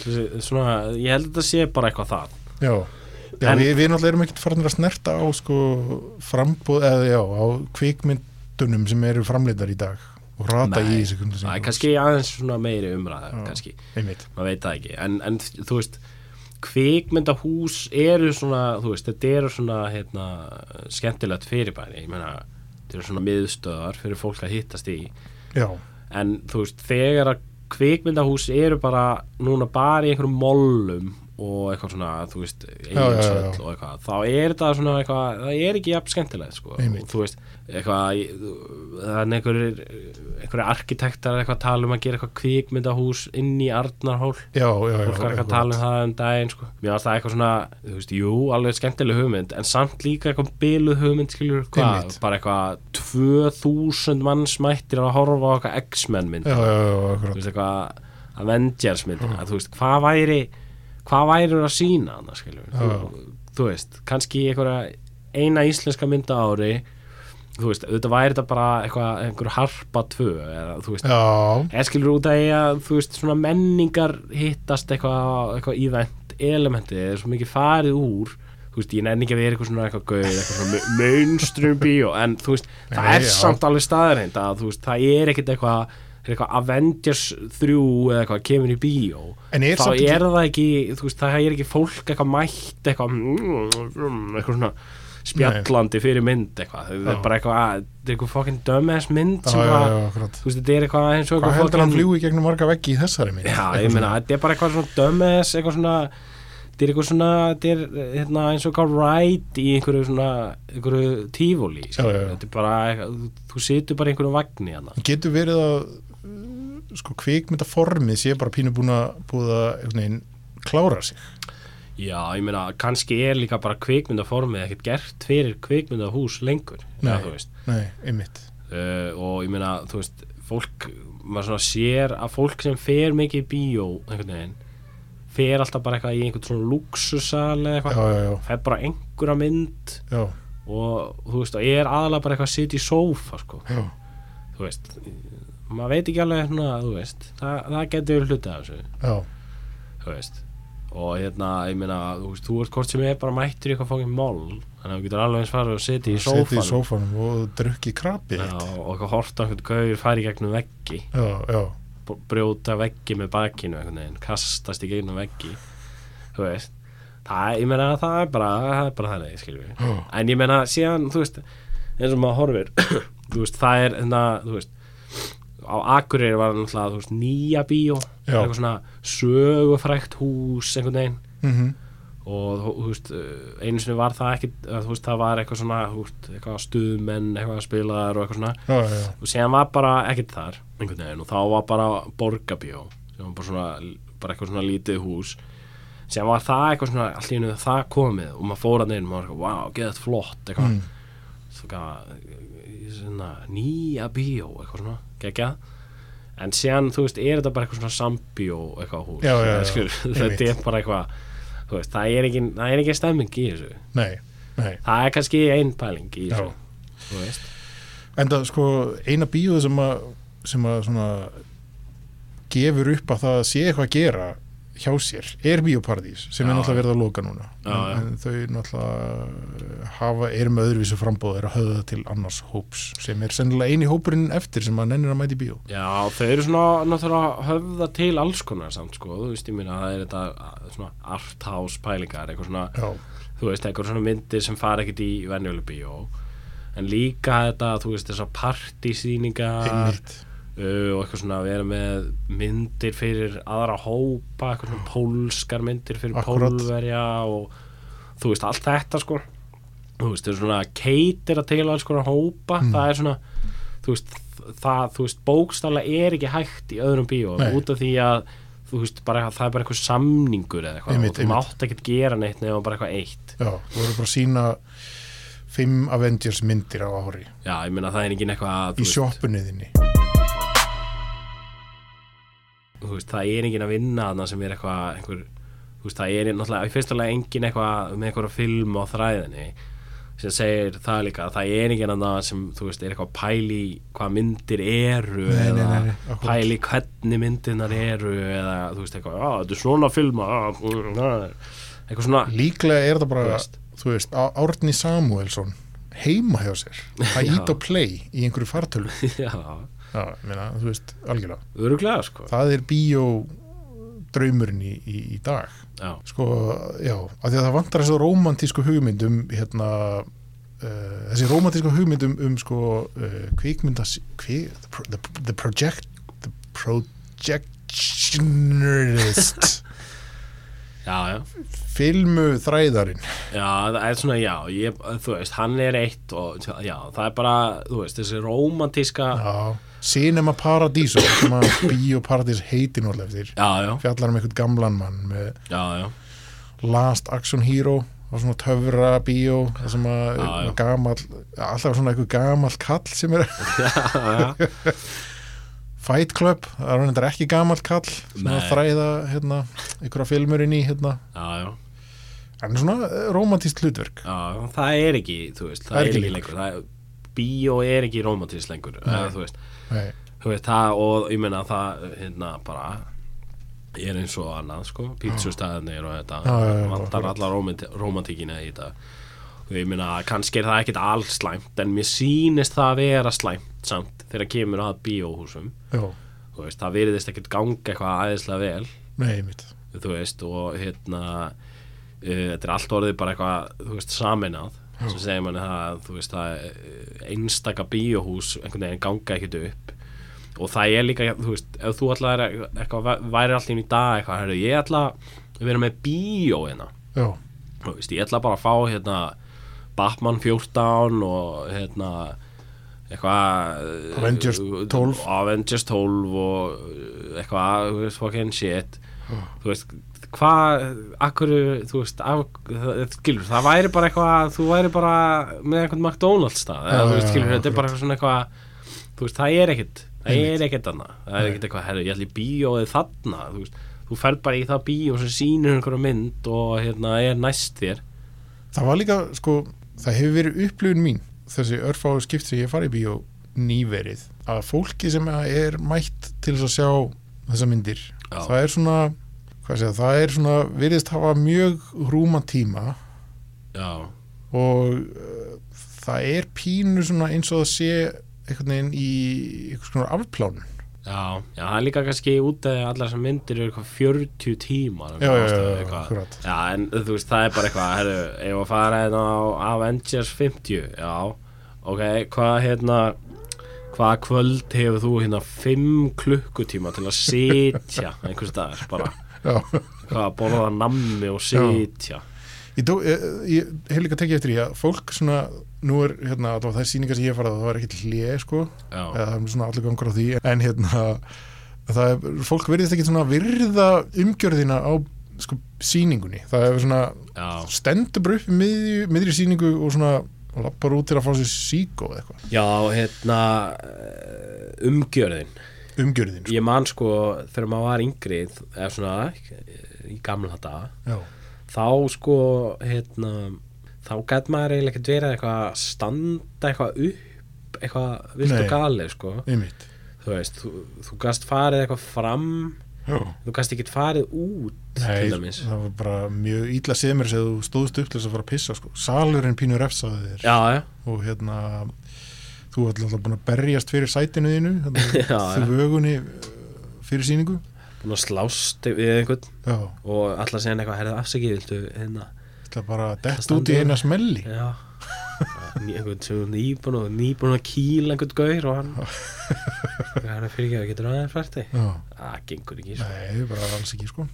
S1: Þessi- svona, ég held að þetta sé bara eitthvað það
S2: Já, já
S1: En-
S2: við, við náttúrulega erum ekkert farinir að snerta á sko frambúð, eða já, á kvikmyndunum sem eru framleitar í dag og rata
S1: Nei.
S2: í þessu kundu sem
S1: það er kannski aðeins svona meiri umræða kannski,
S2: einmitt,
S1: maður veit það ekki en, en þú veist kvikmyndahús eru svona þú veist, þetta eru svona hérna, skemmtilegt fyrirbæri ég meina, þetta eru svona miðstöðar fyrir fólk að hittast í
S2: já,
S1: en þú veist, þegar að kvikmyndahús eru bara núna bara í einhverjum mollum og eitthvað svona, þú veist,
S2: já, já.
S1: eiginsöll og eitthvað, þá er það svona eitthvað það er ekki jafn skemmtilegt, sko
S2: Einmitt.
S1: og þú veist, eitthvað ég- þú- þannig einhverjir, einhverjir arkitektar eitthvað tala um að gera eitthvað kvikmyndahús inn í Arnarhól
S2: já, já,
S1: fólk var
S2: já
S1: eitthvað að
S2: akkurat.
S1: tala um það um daginn sko. mér varst það eitthvað svona, þú veist, jú alveg skemmtileg hugmynd, en samt líka eitthvað biluð hugmynd, skilur, hvað,
S2: Einmitt.
S1: bara eitthvað 2000 manns mættir að horfa á eitthvað X-Men mynd
S2: já, já, já,
S1: þú
S2: akkurat
S1: veist, eitthvað Avengers mynd þú veist, hvað væri hvað væri að sína hann, skilur þú, þú veist, kannski einhverja eina íslenska mynda ári þú veist, auðvitað væri þetta bara eitthvað, einhver harpa tvö eða, þú veist,
S2: já,
S1: eða skilur út að eiga þú veist svona menningar hittast eitthvað eitthva event elementið er svo mikið farið úr þú veist ég nenni ekki að vera eitthvað svona eitthvað gauð eitthvað svona mönstrum bíó en þú veist það
S2: Nei,
S1: er
S2: já.
S1: samt alveg staðarind að þú veist það er ekkit eitthvað þegar eitthvað Avengers 3 eða eitthvað kemur í bíó
S2: En er
S1: þá
S2: samt ekki-
S1: er það ekki þú veist það er ekki fólk eitthvað mætt eitthvað mm, eitthvað svona spjallandi fyrir mynd eitthvað það
S2: Já.
S1: er bara eitthvað þetta er eitthvað fucking dumbass mynd
S2: já,
S1: sem
S2: já,
S1: bara
S2: já, akkurat
S1: þú veist, þetta er eitthvað eins og
S2: hvað
S1: eitthvað
S2: heldur hann
S1: fucking-
S2: fljúi gegnum marga veggi í þessari mynd
S1: Já, ég meina, þetta er bara eitthvað svona dömmes, eitthvað svona þetta er eitthvað svona, þetta er hérna, eins og eitthvað ride í einhverju svona einhverju tífóli
S2: Já, já, já.
S1: þetta er bara, eitthvað- þú, þú situr bara í einhverju vagni hérna.
S2: getur verið að uh, sko kvikmyndaformið sé bara pínu búin að búið að einhvern veginn klára sig
S1: Já, ég meina, kannski er líka bara kvikmyndaformið ekkert gert fyrir kvikmyndahús lengur,
S2: Nei.
S1: eða þú veist
S2: nei, einmitt,
S1: uh, og ég meina, þú veist fólk, maður svona sér að fólk sem fer mikið í bíó einhvern veginn, fer alltaf bara eitthvað í einhvern svona luxusal eða
S2: já,
S1: eitthvað,
S2: já, já,
S1: fer bara einhverja mynd
S2: já,
S1: og þú veist, og ég er aðalega bara eitthvað að sitja í sófa, sko
S2: já.
S1: þú veist, maður veit ekki alveg svona, þú veist, það, það getur verið hluti af þessu,
S2: já.
S1: þú veist og hérna, ég meina, þú veist, þú ert hvort sem er bara mættur í eitthvað fókin mól þannig að þú getur alveg eins farið og sitja í
S2: Setið í
S1: sófanum
S2: sófanum og drukki krapi
S1: Já,
S2: já,
S1: og eitthvað horta einhvern gaur færi gegnum veggi
S2: já,
S1: b- brjóta veggi með bakinu einhvern veginn, kastast í gegnum veggi þú veist það, ég meina það er bara, það er bara þannig skilur við,
S2: já,
S1: en ég meina síðan þú veist, eins og maður horfir þú veist, það er hérna, þú veist á Akureyri var náttúrulega þú veist, nýja bíó,
S2: Já.
S1: eitthvað svona sögufrækt hús einhvern veginn
S2: mhm,
S1: og þú- þú veist, eh, einu sinni var það ekki eh, þú veist, það var eitthvað svona þú veist, eitthvað stuðmenn, eitthvað spilaðar og eitthvað svona
S2: já, já, já,
S1: og síðan var bara ekkert þar einhvern veginn og þá var bara borgabjó sem var bara svona, bara eitthvað svona lítið hús síðan var það eitthvað svona allt í einu það komið og maður fór að neina og maður var eitthvað, wow, geðað flott eitthvað,
S2: Mm.
S1: svo eitthvað svona, nýja bíó eitthvað svona, geggjað en síðan, þú veist, er þetta bara eitthvað svona sambjó eitthvað hús
S2: Já, já, já, já.
S1: Skilur, þetta er
S2: Einmitt.
S1: bara eitthvað þú veist, það er ekki, það er ekki stemming í þessu
S2: nei, nei
S1: það er kannski ein pæling í
S2: Já.
S1: þessu þú veist,
S2: Enda sko eina bíóð sem að sem að svona gefur upp að það sé eitthvað að gera hjá sér, er bíóparadís sem
S1: Já,
S2: er náttúrulega verið að loka núna
S1: Já,
S2: en,
S1: já.
S2: en þau náttúrulega hafa, er með öðruvísu frambóð er að höfða til annars hóps sem er sennilega eini hópurinn eftir sem að nennir að mæti bíó
S1: Já, þau eru svona náttúrulega höfða til alls konar samt sko, þú veist, ég minna það er þetta að, svona arthouse pælingar eitthvað svona,
S2: Já,
S1: þú veist, eitthvað svona myndir sem fara ekkert í venjuleg bíó en líka þetta, þú veist, þessar partysýningar uh,
S2: einmitt
S1: og eitthvað svona að vera með myndir fyrir aðra hópa eitthvað svona pólskar myndir fyrir
S2: Akkúrat.
S1: pólverja og þú veist, allt þetta sko þú veist, þau eru svona keitir að til alls konar hópa,
S2: Mm.
S1: það er svona þú veist, það, þú veist, bókstaflega er ekki hægt í öðrum bíó
S2: Nei.
S1: út af því að, þú veist, bara það er bara eitthvað samningur eða eitthvað
S2: Einmitt,
S1: og þú mátt ekkert gera neitt nefnum bara eitthvað eitt
S2: Já, voru bara að sína fimm Avengers myndir á ári
S1: já, ég meina það er ekki eitthvað þú
S2: í
S1: veist,
S2: sjoppunniðinni
S1: þú veist, það er enginn að vinna þarna sem er eitthvað einhver, þú veist, það er náttúrulega í fyrsta lega enginn eitthvað með eitthvað film á þræðinni sem segir það líka það er enginn að það sem, þú veist, er eitthvað að pæli í hvað myndir eru
S2: Nei, nei,
S1: eða
S2: nei, nei, akkúrat.
S1: pæli í hvernig myndirnar eru eða, þú veist, eitthvað, að þetta er svona filma að, eitthvað svona
S2: Mm. Líklega er það bara,
S1: Þú
S2: þú
S1: veist.
S2: veist, Á- Árni Samuelsson heima hjá sér, að
S1: Já.
S2: ít og play í einhverju fartölu
S1: já,
S2: Já, ég meina, þú veist, algjörlega
S1: öruglega, sko
S2: Það er bíó draumurinn í, í, í dag
S1: já,
S2: Sko, já, af því að það vantar þessu rómantísku hugmyndum hérna Uh, þessi rómantísku hugmyndum um sko uh, kvikmynda kvi, the, pro- the, the project the projectionist
S1: já, já
S2: filmu þræðarinn
S1: Já, það er svona, já, ég, þú veist, hann er eitt og, já, það er bara, þú veist, þessi rómantíska,
S2: Já, Cinema Paradiso sem að Bíóparadís heiti náttúrulega eftir
S1: já, já,
S2: fjallar um einhvern gamlan mann með
S1: já, já.
S2: Last Action Hero og svona töfra bíó það sem að
S1: Já, já.
S2: gamall alltaf svona einhver gamall kall sem er
S1: já, já.
S2: Fight Club, það er hann þetta ekki gamall kall sem að
S1: Nei.
S2: þræða hérna, einhverja filmur inn í hérna
S1: Já, já,
S2: en svona eh, rómantískt hlutverk
S1: já, já. það er ekki, þú veist, það er ekki lengur, það er, bíó er ekki rómatísk lengur, eða, þú veist,
S2: Nei,
S1: þú veist, það og ég meina það, hérna, bara, er eins og annað, sko, pítsustæðinir og þetta,
S2: Já, já, já,
S1: vantar
S2: akkurat.
S1: alla rómanti- rómantíkina í þetta og ég meina, kannski er það ekkit alls slæmt, en mér sýnist það að vera slæmt samt þegar kemur að bíóhúsum,
S2: já,
S1: þú veist, það virðist ekkit ganga eitthvað aðeinslega vel
S2: nei mitt
S1: þú veist og hérna uh, þetta er allt orðið bara eitthvað þú veist saminað sem segir manni það að þú veist að eh, einstaka bíóhús einhvern veginn ganga ekkert upp og það er líka, þú veist, ef þú ætlaðir að- eitthvað, væ- væri alltaf í dag eitthvað heyrðu, ég ætla að vera með bíó hérna
S2: Já,
S1: þú veist, ég ætla bara að fá hérna Batman 14 og hérna eitthvað eh,
S2: Avengers 12.
S1: Avengers 12 og uh, eitthvað, þú veist, fucking shit þú veist, hvað akkur, þú veist, af, það, skilur, það væri bara eitthvað, þú væri bara með einhvern McDonalds stað, eða,
S2: Já,
S1: þú veist,
S2: já,
S1: skilur,
S2: já,
S1: þetta er bara eitthvað svona eitthvað þú veist, það er ekkit, það er ekkit annað það er ekkit eitthvað, herru, ég ætla í bíóið þarna, þú veist þú ferð bara í það bíó sem sýnir einhverja mynd og hérna er næst þér
S2: það var líka, sko, það hefur verið upplifun mín, þessi örfáðu skipt sem ég farið bíó nýverið að fólki sem er mætt til þess að sjá þessa myndir
S1: Já.
S2: það er svona, hvað segja, það er svona virðist hafa mjög rúma tíma
S1: já,
S2: og uh, það er pínu svona eins og það sé einhvern veginn í einhvers konar afplán
S1: já, já, það er líka kannski út að allar sem myndir eru eitthvað 40 tímar
S2: Já, já, já,
S1: ástæðu,
S2: já,
S1: eitthvað.
S2: akkurat.
S1: já, en þú veist, það er bara eitthvað herru, ef að fara hérna á Avengers 50 já, ok, hvað hérna hvað kvöld hefur þú hérna 5 klukkutíma til að sitja einhvers staðar, bara
S2: Já.
S1: hvað, borða nammi og sitja
S2: Ég, tó, ég, eh, ég hef líka tekið eftir því að fólk svona, nú er hérna, allavega það er sýningar sem ég hef farið á, það var ekkert hlið sko,
S1: já,
S2: eða það er svona allir gangur á því en hérna, það er fólk verðist ekki svona virða umgjörðina á sko sýningunni það er svona,
S1: já.
S2: stendur bara upp í miðju, miðri sýningu og svona lappar út til að fá sér síkó eða eitthvað,
S1: Já, hérna eh, umgjörðin
S2: umgjörðin sko.
S1: Ég man sko þegar maður var yngri eða svona eh, í gamla daga
S2: Já.
S1: þá sko hérna, þá gæt maður eiginlega ekkert verið eitthvað að standa eitthvað upp eitthvað vilt
S2: Nei.
S1: og galið sko
S2: einmitt
S1: þú veist, þú, þú gast farið eitthvað fram
S2: Já.
S1: þú gast ekkert farið út
S2: Nei,
S1: til dæmis
S2: það var bara mjög ítla semur sem þú stóðst upp til þess að fara að pissa sko. salurinn pínur efsaði þér
S1: Já, já,
S2: og hérna þú ert alltaf búin að berjast fyrir sætinu þínu
S1: Já, já.
S2: þau vögunni fyrir síningu
S1: búin að slást við einhvern
S2: já,
S1: og alltaf segja eitthvað herðið afsakið, viltu hérna
S2: þetta er bara dett
S1: standi
S2: út í
S1: yfir.
S2: eina smelli
S1: Já Ný- einhvern sem er nýbúin og nýbúin að kýla einhvern gaur og hann hann er fyrir ekki að getur aðeins fært þig
S2: já,
S1: það gengur ekki sko.
S2: nei, bara alls ekki sko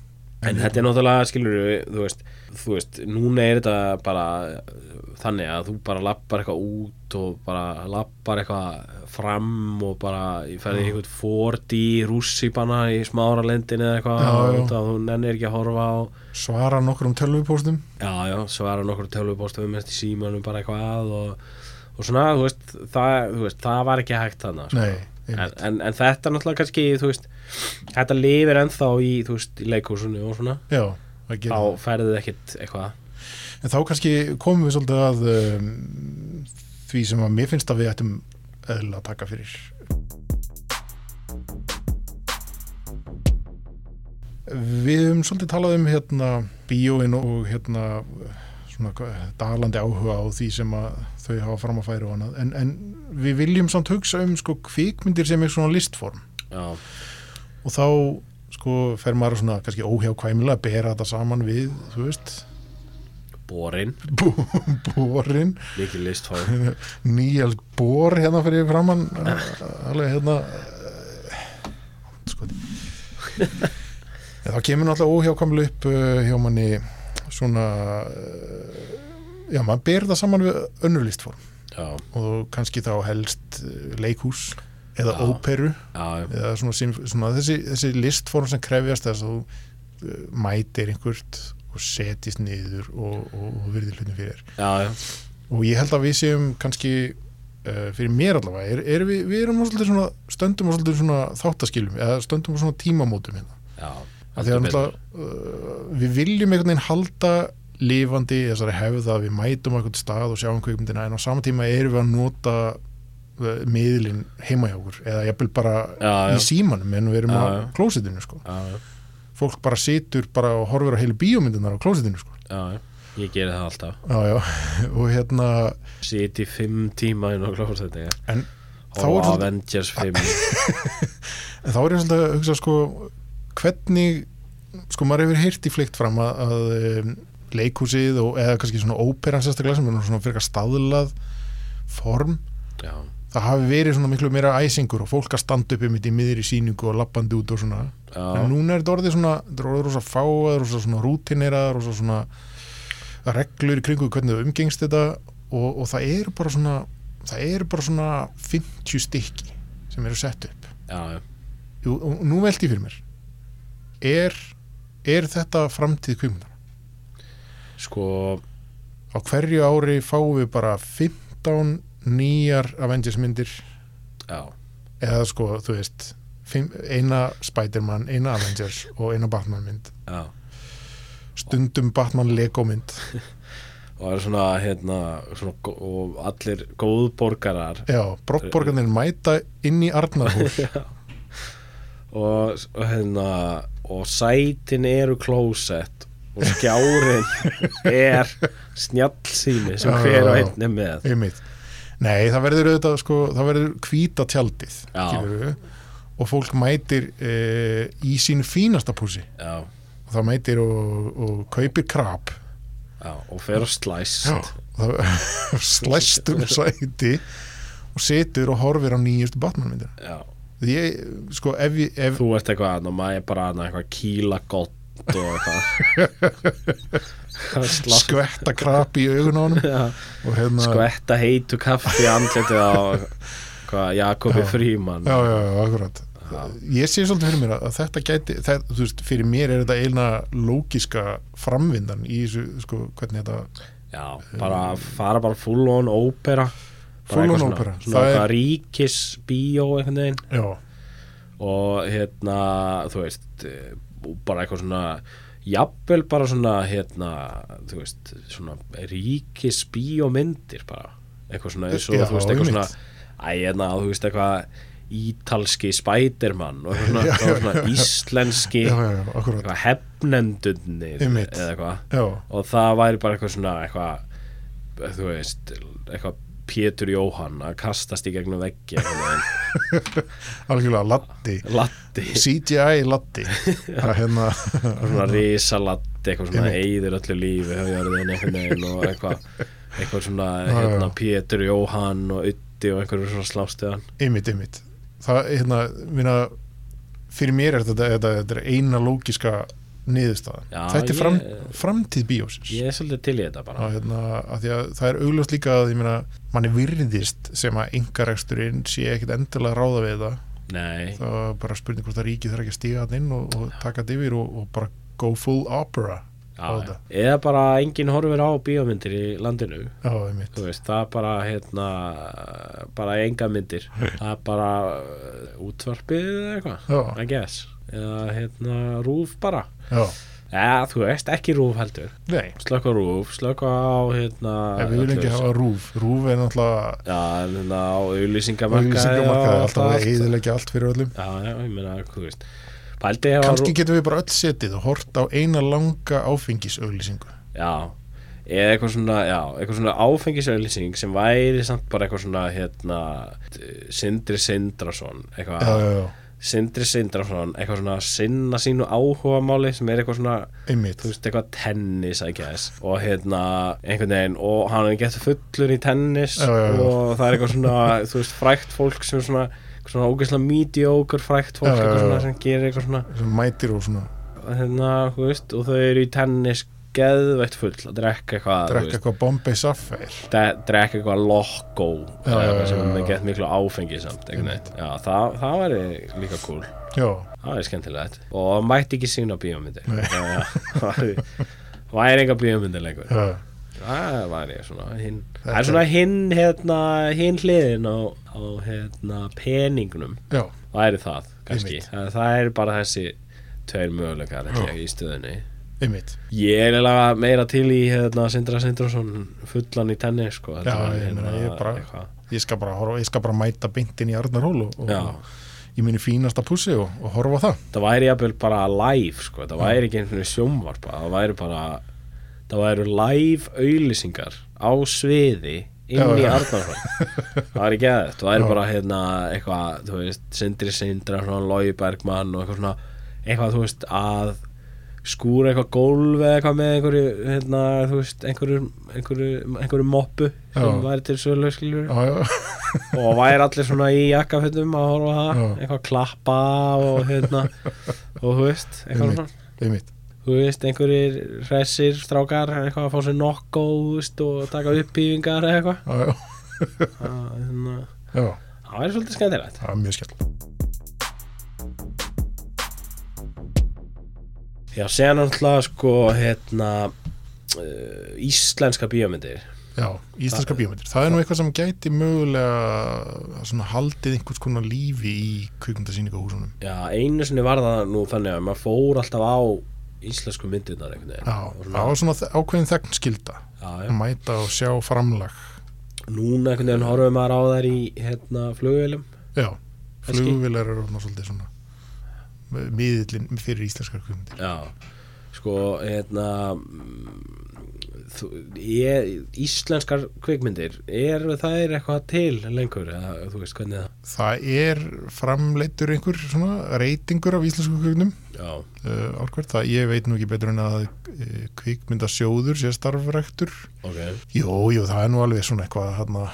S1: en þetta er náttúrulega skilur þú veist, þú veist, núna er þetta bara uh, þannig að þú bara lappar eitthvað út og bara lappar eitthvað fram og bara ég ferði einhvern 4D rússipanna í smáralendin eða eitthvað
S2: Já, já.
S1: og það- þú nennir ekki að horfa á
S2: svara nokkrum tölvupóstum
S1: Já, já, svara nokkur tölvupóstum mest í símanum bara eitthvað og, og svona, þú veist, það, þú veist, það var ekki hægt þannig
S2: nei,
S1: en,
S2: einmitt.
S1: en, en þetta er náttúrulega kannski, þú veist, þetta lifir ennþá í, þú veist, í leikhúsinu og svona
S2: já, það gerir það.
S1: Þá ferðið ekkit eitthvað
S2: en þá kannski komum við svolítið að um, því sem að mér finnst að við ættum eðla að taka fyrir Við höfum svolítið talað um hérna bíóin og hérna svona hvað- dalandi áhuga á því sem að þau hafa fram að færa og annað en, en við viljum samt hugsa um sko kvikmyndir sem er svona listform
S1: Já,
S2: og þá sko fer maður svona kannski óhjákvæmilega að bera þetta saman við, þú veist
S1: borin,
S2: bú, búrin
S1: mikið listfáð
S2: Níels Bór hérna fyrir framann eh, alveg hérna eh, sko það kemur náttúrulega óhjákamlu upp eh, hjá manni svona eh, já, maður ber það saman við önnur listform
S1: Já,
S2: og kannski þá helst eh, leikhús eða
S1: Já.
S2: óperu
S1: já, já,
S2: eða svona, symf- svona þessi, þessi listform sem krefjast þess að þú eh, mætir einhvert og setjist niður og, og, og virðir hlutin fyrir þér
S1: já, já.
S2: og ég held að við séum kannski uh, fyrir mér allavega er, er við, við erum á svolítið svona, stöndum á svolítið svona þáttaskilum eða stöndum á svona tímamótum hérna.
S1: já.
S2: Af því að
S1: heldur betur.
S2: náttúrulega, uh, við viljum einhvern veginn halda lifandi þessari hefð að við mætum á einhvern stað og sjáum kveikmyndina en á sama tíma erum við að nota uh, miðlinn heima hjá okkur eða jafnvel bara
S1: Já, já.
S2: í símanum en við erum
S1: Já,
S2: á
S1: já.
S2: klósitinu sko.
S1: Já, já,
S2: fólk bara situr bara og horfir á heilu bíómyndunar á klósitinu sko.
S1: já, já. ég geri það alltaf
S2: já, já. og hérna
S1: Sit í fimm tíma inn á klófstætti
S2: en þá
S1: Og
S2: er svolítið- Ah.
S1: Avengers 5
S2: En þá er ég svolítið að hugsa sko hvernig, sko maður hefur heyrt í fleikt fram að, að um, leikhúsið og eða kannski svona óperan sérstaklega sem er nú svona fyrir staðlað form,
S1: Já,
S2: það hafi verið svona miklu meira æsingur og fólk að standa upp einmitt í miðri síningu og lappandi út og svona
S1: já,
S2: en núna er þetta orðið svona, þetta er orðið rosa fáaður rosa svona rútineraðar rosa svona reglur í kringu hvernig þau umgengst þetta og, og það eru bara svona það eru bara svona 50 stykki sem eru sett upp
S1: já, já.
S2: Jú, og nú veldi ég fyrir mér er, er þetta framtíð kvikmyndar?
S1: Sko,
S2: Á hverju ári fáum við bara 15 nýjar Avengers myndir
S1: já
S2: eða sko, þú veist fimm, eina Spider-Man, eina Avengers og eina Batman mynd
S1: já
S2: stundum Batman Lego mynd
S1: og það er svona, hérna, svona gó- og allir góðborgarar
S2: já, brokkborgarnir mæta inn í Arnarhús
S1: og, og hérna og sætin eru klósett og skjárin er snjallsými sem
S2: Já,
S1: hver
S2: já,
S1: og
S2: já.
S1: einn er með
S2: einmitt Nei, það verður auðvitað sko, það verður hvíta tjaldið
S1: Já.
S2: skilurðu, og fólk mætir e, í sín fínasta púsi
S1: já,
S2: og það mætir og, og kaupir krab
S1: já, og fer og slæst
S2: Já, það slæst um sæti og situr og horfir á nýjustu Batman-myndir
S1: Já.
S2: því ég, sko, ef, ég- ef
S1: þú ert eitthvað annað, maður er bara annað eitthvað kýla gott og eitthvað Það er slapp-
S2: skvetta krab í augun á honum
S1: Já.
S2: og hérna
S1: skvetta heitu kaffi í andlitið á hvað, Jakobi
S2: Já.
S1: Fríman
S2: já, já, já, akkurat ég sé svolítið fyrir mér að að þetta gæti það, þú veist, fyrir mér er þetta eina lógiska framvindan í þessu, sko, hvernig þetta
S1: Já, bara fara bara full on ópera Bara
S2: Full
S1: eitthvað
S2: on
S1: svona-
S2: ópera.
S1: Svona
S2: Það
S1: eitthvað
S2: er-
S1: ríkis bíó einhvern veginn
S2: já,
S1: og hérna, þú veist eh, og bara eitthvað svona jafnvel bara svona hérna, þú veist, svona ríkis bíómyndir bara eitthvað svona, eins og
S2: Já,
S1: þú veist, eitthvað svona
S2: einmitt.
S1: æ, hérna, þú veist, eitthvað ítalski Spiderman og eitthvað svona,
S2: Já,
S1: eitthvað
S2: já,
S1: svona
S2: já, já.
S1: íslenski
S2: já, já, já, akkurat
S1: eitthvað hefnendunir
S2: Einmitt.
S1: eða eitthvað
S2: já,
S1: og það væri bara eitthvað svona eitthvað, þú veist eitthvað Pétur Jóhann að kastast í gegnum veggi einhvern veginn.
S2: algjörlega laddi
S1: latti,
S2: CGI laddi að hérna
S1: svona risalatti eitthvað svona
S2: Einmitt.
S1: eyðir öllu lífi höfjarðin einhvern veginn og eitthvað eitthvað svona
S2: Já, já.
S1: hérna, Pétur Jóhann og Uddi og einhverjum svona slástuðan
S2: ymmit, ymmit það, hérna, minna fyrir mér er þetta, þetta, þetta er eina lógiska niðurstaðan
S1: Já,
S2: þetta er fram,
S1: ég-
S2: framtíð bíósins
S1: ég er svolítið til í þetta bara
S2: að, hérna, að því að það er augljóst líka að ég meina, manni virðist sem að yngareksturinn sé ekkit endilega að ráða við það
S1: nei,
S2: það var bara spurning hvort að ríkið þarf ekki að stíga hann inn og, og taka þetta yfir og, og bara go full opera
S1: já,
S2: á
S1: já.
S2: þetta.
S1: eða bara enginn horfir á bíómyndir í landinu
S2: já, einmitt,
S1: þú veist, það er bara hérna, bara enga myndir það er bara uh, útvarpið eða eitthvað,
S2: Já.
S1: I guess eða hérna rúf bara
S2: já,
S1: eða þú veist, ekki rúf heldur
S2: nei
S1: slökka rúf, slökka á hérna
S2: ef við viljum ekki
S1: öllu-
S2: hafa rúf, rúf er náttúrulega
S1: já, en hérna á auðlýsingamarkaði
S2: auglýsingamarkaði,
S1: og
S2: alltaf að
S1: allt.
S2: eðilegja allt fyrir öllum
S1: já, já, ég meina, þú veist pældi hefa
S2: kannski getum við bara öll setið og hort á eina langa áfengisauglýsingu
S1: Já, eða eitthvað svona, já, eitthvað svona áfengisauðlýsing sem væri samt bara eitthvað svona, hérna, t- Sindri Sindrason, eitthvað,
S2: já, já, já,
S1: Sindri Sindrason, eitthvað svona sinna sínu áhugamáli sem er eitthvað svona,
S2: einmitt
S1: þú veist, eitthvað tennis, I guess, og hérna, einhvern veginn, og hann er gett fullur í tennis
S2: Já, já, já.
S1: og það er eitthvað svona, þú veist, frækt fólk sem er svona, eitthvað svona ógeðslega mediocre frækt fólk,
S2: Já, já,
S1: eitthvað
S2: já.
S1: svona sem gerir eitthvað svona
S2: sem mætir og svona
S1: hérna, þú veist, og þau eru í tennis geðveitt full að drekka eitthvað þú
S2: drekka
S1: veist,
S2: eitthvað Bombay Sapphire
S1: de- drekka eitthvað lokkó
S2: Já, já, já,
S1: sem
S2: já,
S1: er
S2: já.
S1: gett miklu áfengi samt einhvern veginn. já, það, það væri líka cool
S2: já,
S1: það væri skemmtilegt og það mætti ekki sína bíómyndir
S2: Nei.
S1: Já, já, það væri- það væri enga bíómyndir lengur
S2: já,
S1: það væri svona hinn það
S2: Þetta-
S1: er svona hinn hérna, hinn hliðin á, á hérna, peningnum
S2: já
S1: væri það kannski
S2: Einmitt.
S1: það, það er bara þessi tveir möguleikar ekki, í stöðunni
S2: einmitt
S1: Ég er eiginlega meira til í hérna, Sindra Sindrason fullan í tennis sko, heldur
S2: Já,
S1: en,
S2: ég meina,
S1: hérna,
S2: ég er bara-
S1: eitthvað.
S2: ég skal bara, horfa, ég skal bara mæta beintin í Arnarhól og,
S1: Já.
S2: og í minni fínasta pússi og, og horfa á það
S1: Það væri jafnvel bara live sko, það væri ekki einhvern veginn sjómvarpa það væri bara það væri live auðlýsingar á sviði inn
S2: Já,
S1: í
S2: já.
S1: Arnarfjörn það væri ekki aðeins, það væri bara hérna eitthvað, þú veist, Sindri Sindrason Lói Bergmann og eitthvað svona eitthvað, þú veist, að skúra eitthvað gólf eða eitthvað með einhverju hérna, þú veist, einhverju einhverju, einhverju moppu sem
S2: Já.
S1: væri til sölu skiljur
S2: já, já,
S1: og væri allir svona í jakkafutum að horfa á það,
S2: Já.
S1: eitthvað klappa og hérna og þú veist, eitthvað
S2: Einmitt.
S1: svona
S2: einmitt
S1: þú veist, einhverjir hressir strákar, eitthvað að fá sér nokkó þú veist, og taka uppbýfingar eða eitthvað
S2: já, já,
S1: Það- þannig að
S2: já,
S1: það væri svolítið skemmtilegt
S2: það er mjög skell
S1: Já, séðan náttúrulega sko hérna uh, íslenska bíómyndir
S2: Já, íslenska bíómyndir. Það er nú eitthvað sem gæti mögulega svona haldið einhvers konar lífi í kvikmyndasýningahúsunum.
S1: Já, einu sinni var það nú þannig að maður fór alltaf á íslensku myndirnar einhvern veginn.
S2: Já,
S1: Og
S2: það var svona þe- ákveðin þegn skilda.
S1: svona, já,
S2: Að mæta og sjá framlag.
S1: já. Núna einhvern veginn horfum maður á þær í hérna, flugvélum.
S2: Já,
S1: Kannski.
S2: flugvilar eru svona svolítið svona miðillin fyrir íslenskar kvikmyndir.
S1: Já, sko, hérna, mm, þú, ég, íslenskar kvikmyndir, eru þær eitthvað til lengur, eða, þú veist hvernig það?
S2: Það er framleittur einhver svona reytingur af íslensku kvikmyndum
S1: Já,
S2: uh, árkvært. Það ég veit nú ekki betur en að uh, kvikmyndasjóður sé starfræktur
S1: ok,
S2: Jú, jú, það er nú alveg svona eitthvað hérna,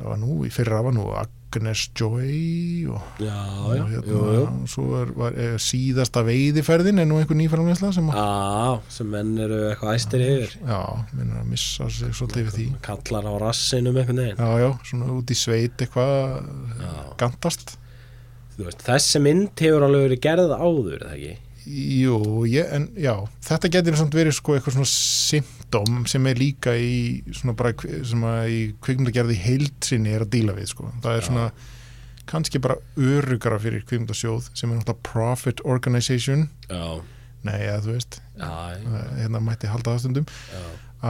S2: það var nú, í fyrra var nú Agnes Joy og,
S1: já, já,
S2: og hérna,
S1: jú, jú.
S2: svo er, var er, síðasta veiðiferðin er nú einhver nýframleysla sem að,
S1: Já, sem menn eru eitthvað æstir yfir.
S2: já, minnur að missa sig svolítið við því.
S1: Kallar á rassinum einhvern veginn.
S2: Já, já, svona út í sveit eitthvað
S1: Já.
S2: gandast.
S1: Þú veist, þessi mynd hefur alveg verið gerð áður, eða ekki?
S2: Jú, ég, en já, þetta getur samt verið sko eitthvað svona symptom sem er líka í svona bara kvi- sem að í kvikmyndagerði í heild sinni er að díla við sko. Það er svona kannski bara örugara fyrir kvikmyndasjóð sem er náttúrulega profit organization,
S1: Já,
S2: nei eða þú veist,
S1: já, já.
S2: eh, hérna mætti halda það stundum,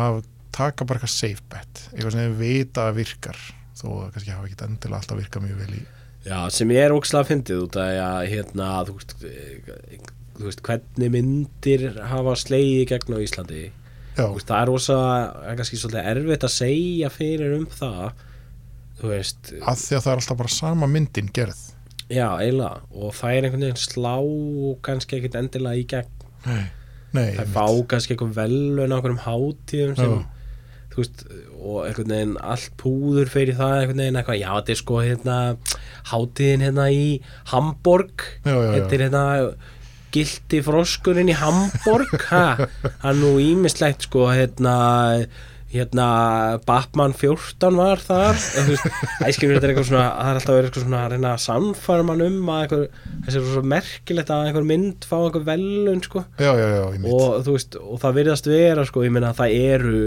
S2: að taka bara eitthvað safe bet, eitthvað sem þeir vita að virkar þó að kannski hafa ekkit endilega alltaf virkað mjög vel í
S1: Já, sem ég er ógslag að fyndið út að já, hérna, þú veist, eh, þú veist hvernig myndir hafa slegið í gegn á Íslandi
S2: Já,
S1: Þú veist, það er rosa, það er kannski svolítið erfitt að segja fyrir um það þú veist,
S2: að því að það er alltaf bara sama myndin gerð
S1: já, eiginlega og það er einhvern veginn slá kannski ekkert endilega í gegn
S2: Nei,
S1: það
S2: einmitt.
S1: fá kannski eitthvað velun á einhverjum hátíðum sem,
S2: Já.
S1: þú veist, og einhvern veginn allt púður fyrir það, einhvern veginn eitthvað, já, þetta er sko hérna, hátíðin hérna í Hamborg,
S2: Já, já, já.
S1: þetta er hérna gildi froskurinn í Hamborg, ha, það er nú ímislegt sko, hérna, hérna, Batman 14 var þar, en þú veist, æskilur þetta er eitthvað svona, það er alltaf verið eitthvað svona að reyna að samfæra mann um að einhver, þessi er svo merkilegt að einhver mynd fá einhver velun, sko
S2: Já, já, já, ég mitt
S1: og þú veist, og það virðast vera sko, ég meina að það eru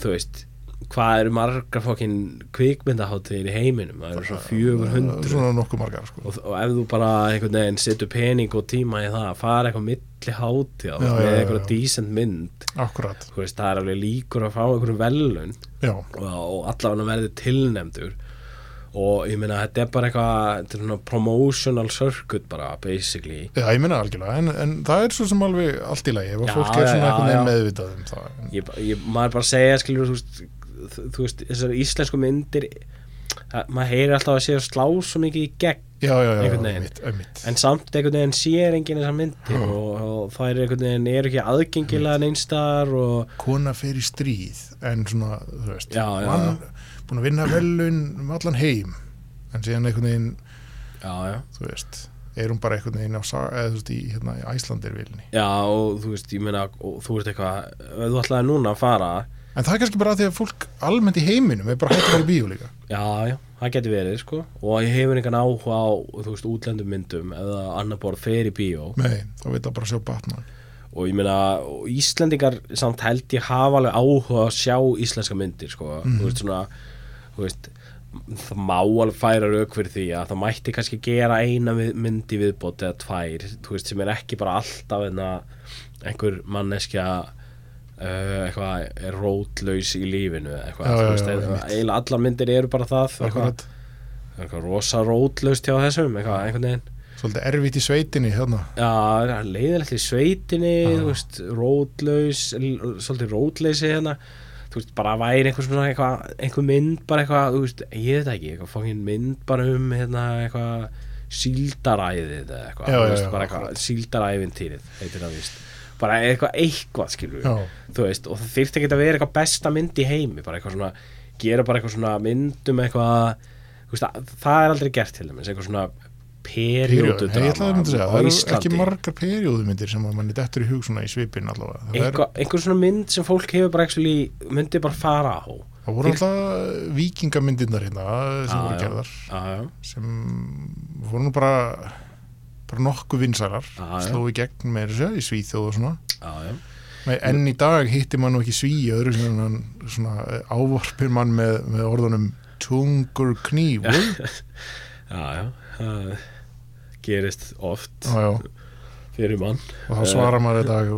S1: þú veist, hvað eru margar fokkin kvikmyndaháttir í heiminum það eru svo 400
S2: Eh, Svona nokkuð margar sko.
S1: og, og ef þú bara einhvern veginn setur pening og tíma í það, fara eitthvað milli hátíð
S2: Já, já,
S1: með
S2: já,
S1: eitthvað
S2: já.
S1: decent mynd
S2: Akkurat,
S1: þú veist, það er alveg líkur að fá einhverjum velun
S2: já,
S1: og, og allavega verði tilnefndur og ég meina þetta er bara eitthvað þetta er svona promotional circuit bara basically
S2: já, ég minna algjörlega en, en það er svo sem alveg allt í lagi ef
S1: Já,
S2: að fólk er
S1: já, já,
S2: svona einhvern
S1: já.
S2: veginn meðvitað um það En-
S1: ég, ég, maður bara segja skilur þú veist, þú- þú veist þessar íslensku myndir það, maður heyrir alltaf að séu að slá svo mikið í gegn
S2: Já, já, já,
S1: Einhvern
S2: ég
S1: veginn.
S2: mitt, ég mitt
S1: en samt einhvern veginn sér enginn þessar myndir og, og það er einhvern veginn er ekki aðgengilega neinstar og
S2: Kona fer í stríð en svona, þú veist
S1: Já, já,
S2: mann búin að vinna velun um allan heim en síðan einhvern veginn,
S1: já, já.
S2: þú veist er hún bara einhvern veginn á sa- eða þú veist í, hérna, í Æslandir vilni
S1: já og þú veist ég meina og þú veist eitthvað ef þú ætlaði núna að fara
S2: en það er kannski bara af því að fólk almennt í heiminum er bara hægt að fara í bíó líka
S1: já já það getur verið sko og ég hefur einhvern áhuga á þú veist útlendum myndum eða annar borð fer í bíó
S2: Nei, þá veit það bara að sjá Batman
S1: og ég meina og Íslendingar samt held ég hafa alveg áhuga að sjá íslenska myndir sko.
S2: Mhm.
S1: þú veist svona þú veist, það má alveg færa rauk fyrir því að það mætti kannski gera eina við- mynd í viðbót eða tvær þú veist, sem er ekki bara alltaf enna, einhver manneskja Uh, eitthvað er rótlaus í lífinu eða eitthvað,
S2: Já,
S1: þú
S2: já,
S1: veist,
S2: já,
S1: eða-
S2: einmitt.
S1: eiginlega allar myndir eru bara það eitthvað,
S2: Akkurat,
S1: eitthvað rosa rótlaust hjá þessum eitthvað, einhvern veginn
S2: svolítið erfitt í sveitinni hérna
S1: Já, það er leiðilegt í sveitinni, þú veist, rótlaus, l- svolítið rótleysi hérna, þú veist, bara væri einhver svona eitthvað, einhver mynd bara eitthvað, þú veist, ég veit það ekki, eitthvað fangin mynd bara um hérna eitthvað síldaræðið eða eitthvað,
S2: Já,
S1: þú
S2: já,
S1: veist,
S2: já,
S1: bara eitthvað síldarævintýrið, heitir það víst, bara eitthvað eitthvað skilur við,
S2: Já.
S1: þú veist, og það þyrfti ekki að vera eitthvað besta mynd í heimi, bara eitthvað svona, gera bara eitthvað svona mynd um eitthvað, þú veist, að- það er aldrei gert til dæmis, eitthvað svona
S2: Periodu, ég ætlaði að
S1: periodudrama
S2: mynda að segja,
S1: á
S2: það eru
S1: Íslandi
S2: ekki margar perióðumyndir sem að manni dettur í hug svona í svipin allavega. Það, er,
S1: einhver, einhver svona mynd sem fólk hefur bara actually, myndi bara fara á
S2: það voru alltaf vikingamyndirnar hérna sem
S1: Já,
S2: voru
S1: já.
S2: gerðar,
S1: já,
S2: sem voru nú bara, bara nokkuð vinsælar,
S1: Já, já.
S2: sló í gegn með þessu í Svíþjóð og svona.
S1: já, já
S2: Nei, enn í dag hittir mann nú ekki svíi öðru sem hann svona eh, ávarpir mann með, með orðunum tungur knífur
S1: já, já, það gerist oft
S2: já, já,
S1: fyrir mann
S2: og þá svarar maður í dag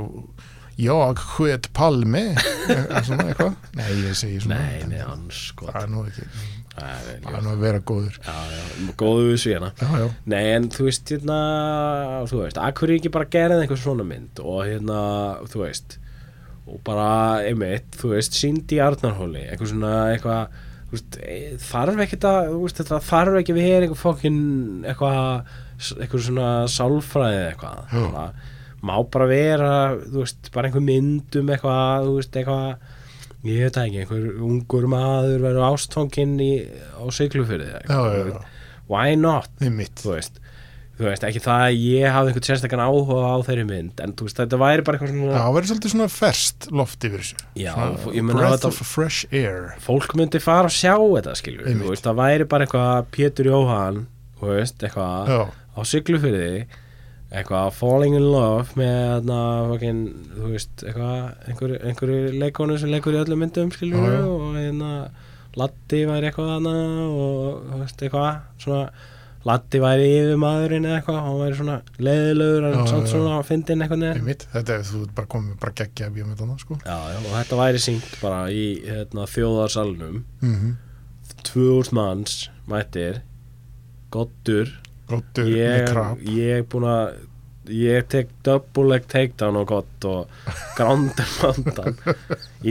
S2: ég hvet palmi eða svona eitthvað nei, ég segi svona
S1: Nei, nei, hans sko
S2: það er nú ekki,
S1: Það er
S2: það
S1: ljótt.
S2: er nú að vera góður
S1: Já, já, góðu við svíjana
S2: já, já,
S1: Nei, en þú veist, hérna, þú veist, að hverju ekki bara gerðið einhver svona mynd og hérna, þú veist, og bara, einmitt, þú veist, síndi í Arnarhóli, eitthvað svona, eitthvað, þú veist, e- þarf ekki það, þú veist, þetta þarf ekki við hér eitthvað fókin, eitthvað, eitthvað svona sálfræði eða eitthvað,
S2: Já.
S1: svona, má bara vera, þú veist, bara einhver mynd um eitthvað, þú veist, eitthvað, ég veit það ekki, einhver ungur maður verður ástfókin í, á siglufyrði,
S2: já,
S1: eitthvað,
S2: já,
S1: þú
S2: já.
S1: veist, why not?
S2: þið mitt
S1: þú veist, þú veist, ekki það að ég hafði einhvern sérstakann áhuga á þeirri mynd en þú veist, þetta væri bara eitthvað svona
S2: það verður svolítið svona ferskt loft yfir þessu
S1: Já,
S2: Svona
S1: ég meina
S2: breath
S1: þetta-
S2: of fresh air
S1: fólk myndi fara að sjá þetta skilur,
S2: Einmitt.
S1: þú veist, það væri bara eitthvað Pétur Jóhann, þú veist, eitthvað
S2: já,
S1: á syklufyrði eitthvað falling in love með þarna, fokin, þú veist, eitthvað einhverju, einhverju leikonu sem leikur í öllum myndum skilur
S2: Já, já.
S1: og hérna Latti væri eitthvað hana og þú veist, eitthvað svona Latti væri yfir maðurinn eða eitthvað hann væri svona leiðilegur en
S2: Já,
S1: samt
S2: já.
S1: svona að fyndi inn eitthvað
S2: þið
S1: neðan
S2: mitt þetta er þú ert bara komið bara geggja að bíja með þarna sko
S1: já, já, og þetta væri syngt bara í hérna, þjóðarsalnum
S2: mm
S1: 2000 manns mættir gottur
S2: gottur með krab
S1: ég, ég er búin að ég tek double leg takedown og gott og grandan mandan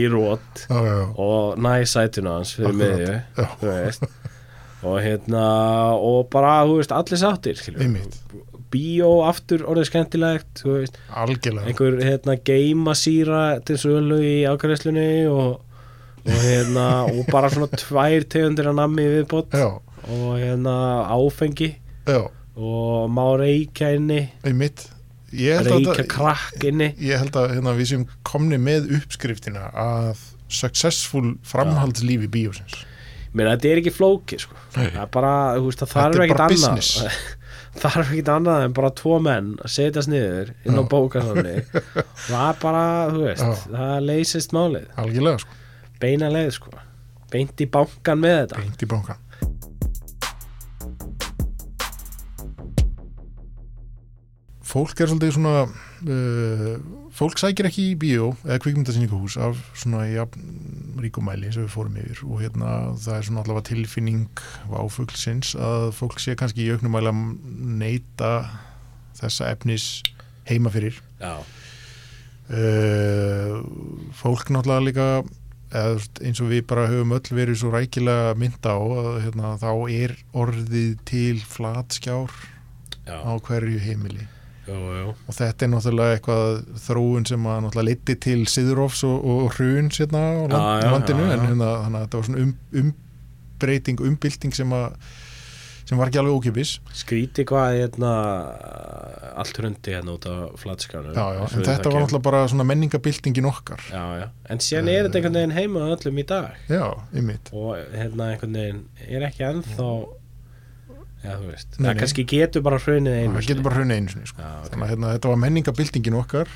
S1: í rót
S2: já, já, já,
S1: og næ sætuna hans fyrir
S2: Akkurat,
S1: miðju
S2: já.
S1: þú veist og hérna og bara, þú veist, allir sáttir skilur.
S2: þið mitt
S1: bíó aftur orðið skemmtilegt þú veist,
S2: algjörlega
S1: einhver hérna geimasýra til sölu í ákvæðslunni og, og hérna og bara svona tvær tegundir að nammi viðbót
S2: já,
S1: og hérna áfengi
S2: já,
S1: og má reykja inni
S2: þið mitt ég held að
S1: reykja
S2: þetta-
S1: krakk inni
S2: ég held að hérna, við séum komni með uppskriftina að successful framhaldslífi bíósins
S1: Mér, þetta er ekki flóki sko. það er bara, þú veist, það
S2: Þetta
S1: þarf
S2: er
S1: ekkit
S2: bara
S1: annað
S2: business.
S1: þarf ekkit annað en bara tvo menn að setjast niður inn á
S2: Já.
S1: bókasamni það er bara, þú veist
S2: Já.
S1: það leysist málið,
S2: algjörlega sko,
S1: beina leið sko. beint í bankan með þetta
S2: beint í bankan fólk er svolítið svona uh, fólk sækir ekki í bíó eða kvikmyndasýningahús af svona ja, ríkumæli sem við fórum yfir og hérna það er svona allavega tilfinning váfuglsins að fólk sé kannski í auknumæli að neyta þessa efnis heima fyrir
S1: já,
S2: uh, fólk náttúrulega líka eða, þú veist, eins og við bara höfum öll verið svo rækilega mynda á að, hérna, þá er orðið til flatskjár
S1: já,
S2: á hverju heimili
S1: jú, jú
S2: og þetta er náttúrulega eitthvað þróun sem að náttúrulega liti til Siðurofs og, og hrun sérna á land,
S1: Já, já,
S2: landinu
S1: já, já.
S2: en hérna, þannig að þetta var svona um, umbreyting, umbylting sem að sem var ekki alveg ókipis
S1: skríti hvað hérna, allt hrundi hérna út á flatskánu
S2: já, já, en þetta var náttúrulega bara svona menningabyltingin okkar
S1: já, já. en síðan er þetta einhvern veginn heima á öllum í dag
S2: já, ymmit
S1: og hérna einhvern veginn er ekki ennþá já þú veist
S2: Nei,
S1: það
S2: nei.
S1: kannski getur bara hrunið einu
S2: það
S1: sinni.
S2: getur bara hrunni einu sinni sko.
S1: já, ok.
S2: þannig að hérna, þetta var menningabyltingin okkar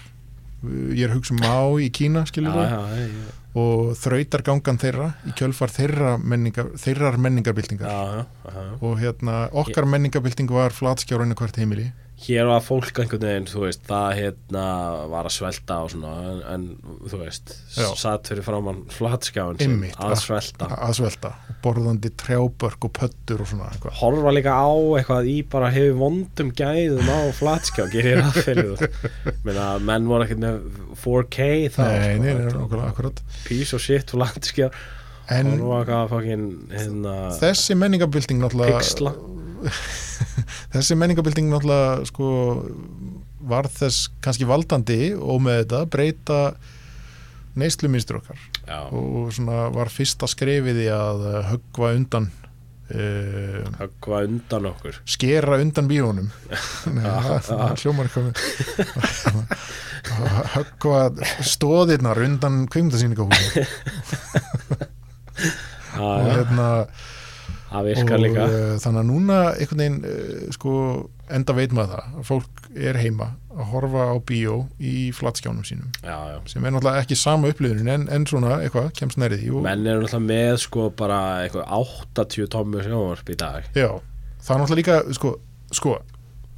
S2: ég er að hugsa um Má í Kína
S1: já,
S2: skilur við,
S1: já, já, já,
S2: og þrautargangan þeirra í kjölfar þeirra menningar, þeirrar menningabyltingar
S1: já, já, já.
S2: og hérna, okkar menningabylting var flatskjárinu hvert heimili
S1: hér var fólk einhvern veginn þú veist það hérna var að svelta og svona en, en þú veist
S2: Já.
S1: satt fyrir framann flatskjáin sinn
S2: Einmitt,
S1: að svelta
S2: að svelta og borðandi trjábörk og pöttur og svona eitthvað
S1: horfa líka á eitthvað í bara hefur vondum gæðum á flatskjá gerir það fyrir þú Meina, menn voru ekkert með 4K þá sko.
S2: nei, nei, nei,
S1: Þetta var
S2: nokkulega akkurat
S1: piece of shit flatskjá
S2: en
S1: horfa á eitthvað fokkin hérna
S2: þessi menningabylting náttúrulega
S1: Pixla.
S2: þessi menningabilding náttúrulega sko, var þess kannski valdandi og með þetta breyta neysluminstur okkar
S1: Já,
S2: og svona var fyrsta skrefið í að höggva undan uh,
S1: höggva undan okkur
S2: skera undan bíónum Nei, það- það hljómar eitthvað með- höggva stóðirnar undan kvimtasýningahúsin og
S1: Það
S2: hérna
S1: það virkar líka
S2: eh, uh, þannig að núna einhvern veginn uh, sko, enda veit maður það að fólk er heima á að horfa á bíó í flatskjánum sínum
S1: já, já
S2: sem er náttúrulega ekki sama upplifunin en, en svona eitthvað, kemst nærið því og,
S1: menn eru náttúrulega með sko bara eitthvað 80 tommu sjónvarp í dag
S2: já, það er náttúrulega líka sko, sko,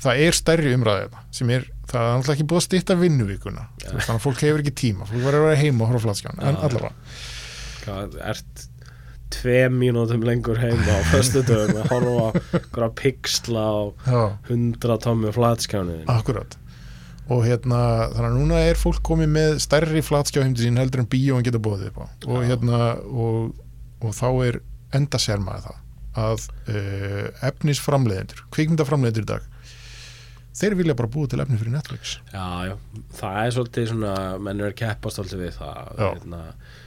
S2: það er stærri umræði þetta, sem er, það er náttúrulega ekki búið að stýtta vinnuvíkuna, Þú veist, þannig að fólk hefur ekki tíma fólk verður að vera heima og horfa á flatskjánum, en
S1: Já.
S2: allavega
S1: Hvað, ert tve mínútum lengur heima á föstudöfum að horfa á einhverja pixla á
S2: já, Ah.
S1: 100 tommu flatskjánuðin
S2: akkurat og hérna, þannig að núna er fólk komið með stærri flatskjáheimdi sín heldur en bíóin geta bóðið upp á og
S1: Já.
S2: hérna, og, og þá er endasermaði það að uh, efnisframleiðendur kvikmyndaframleiðendur í dag þeir vilja bara búa til efni fyrir Netflix
S1: Já, já, það er svolítið svona menn er að keppast svolítið við það hérna,
S2: Já.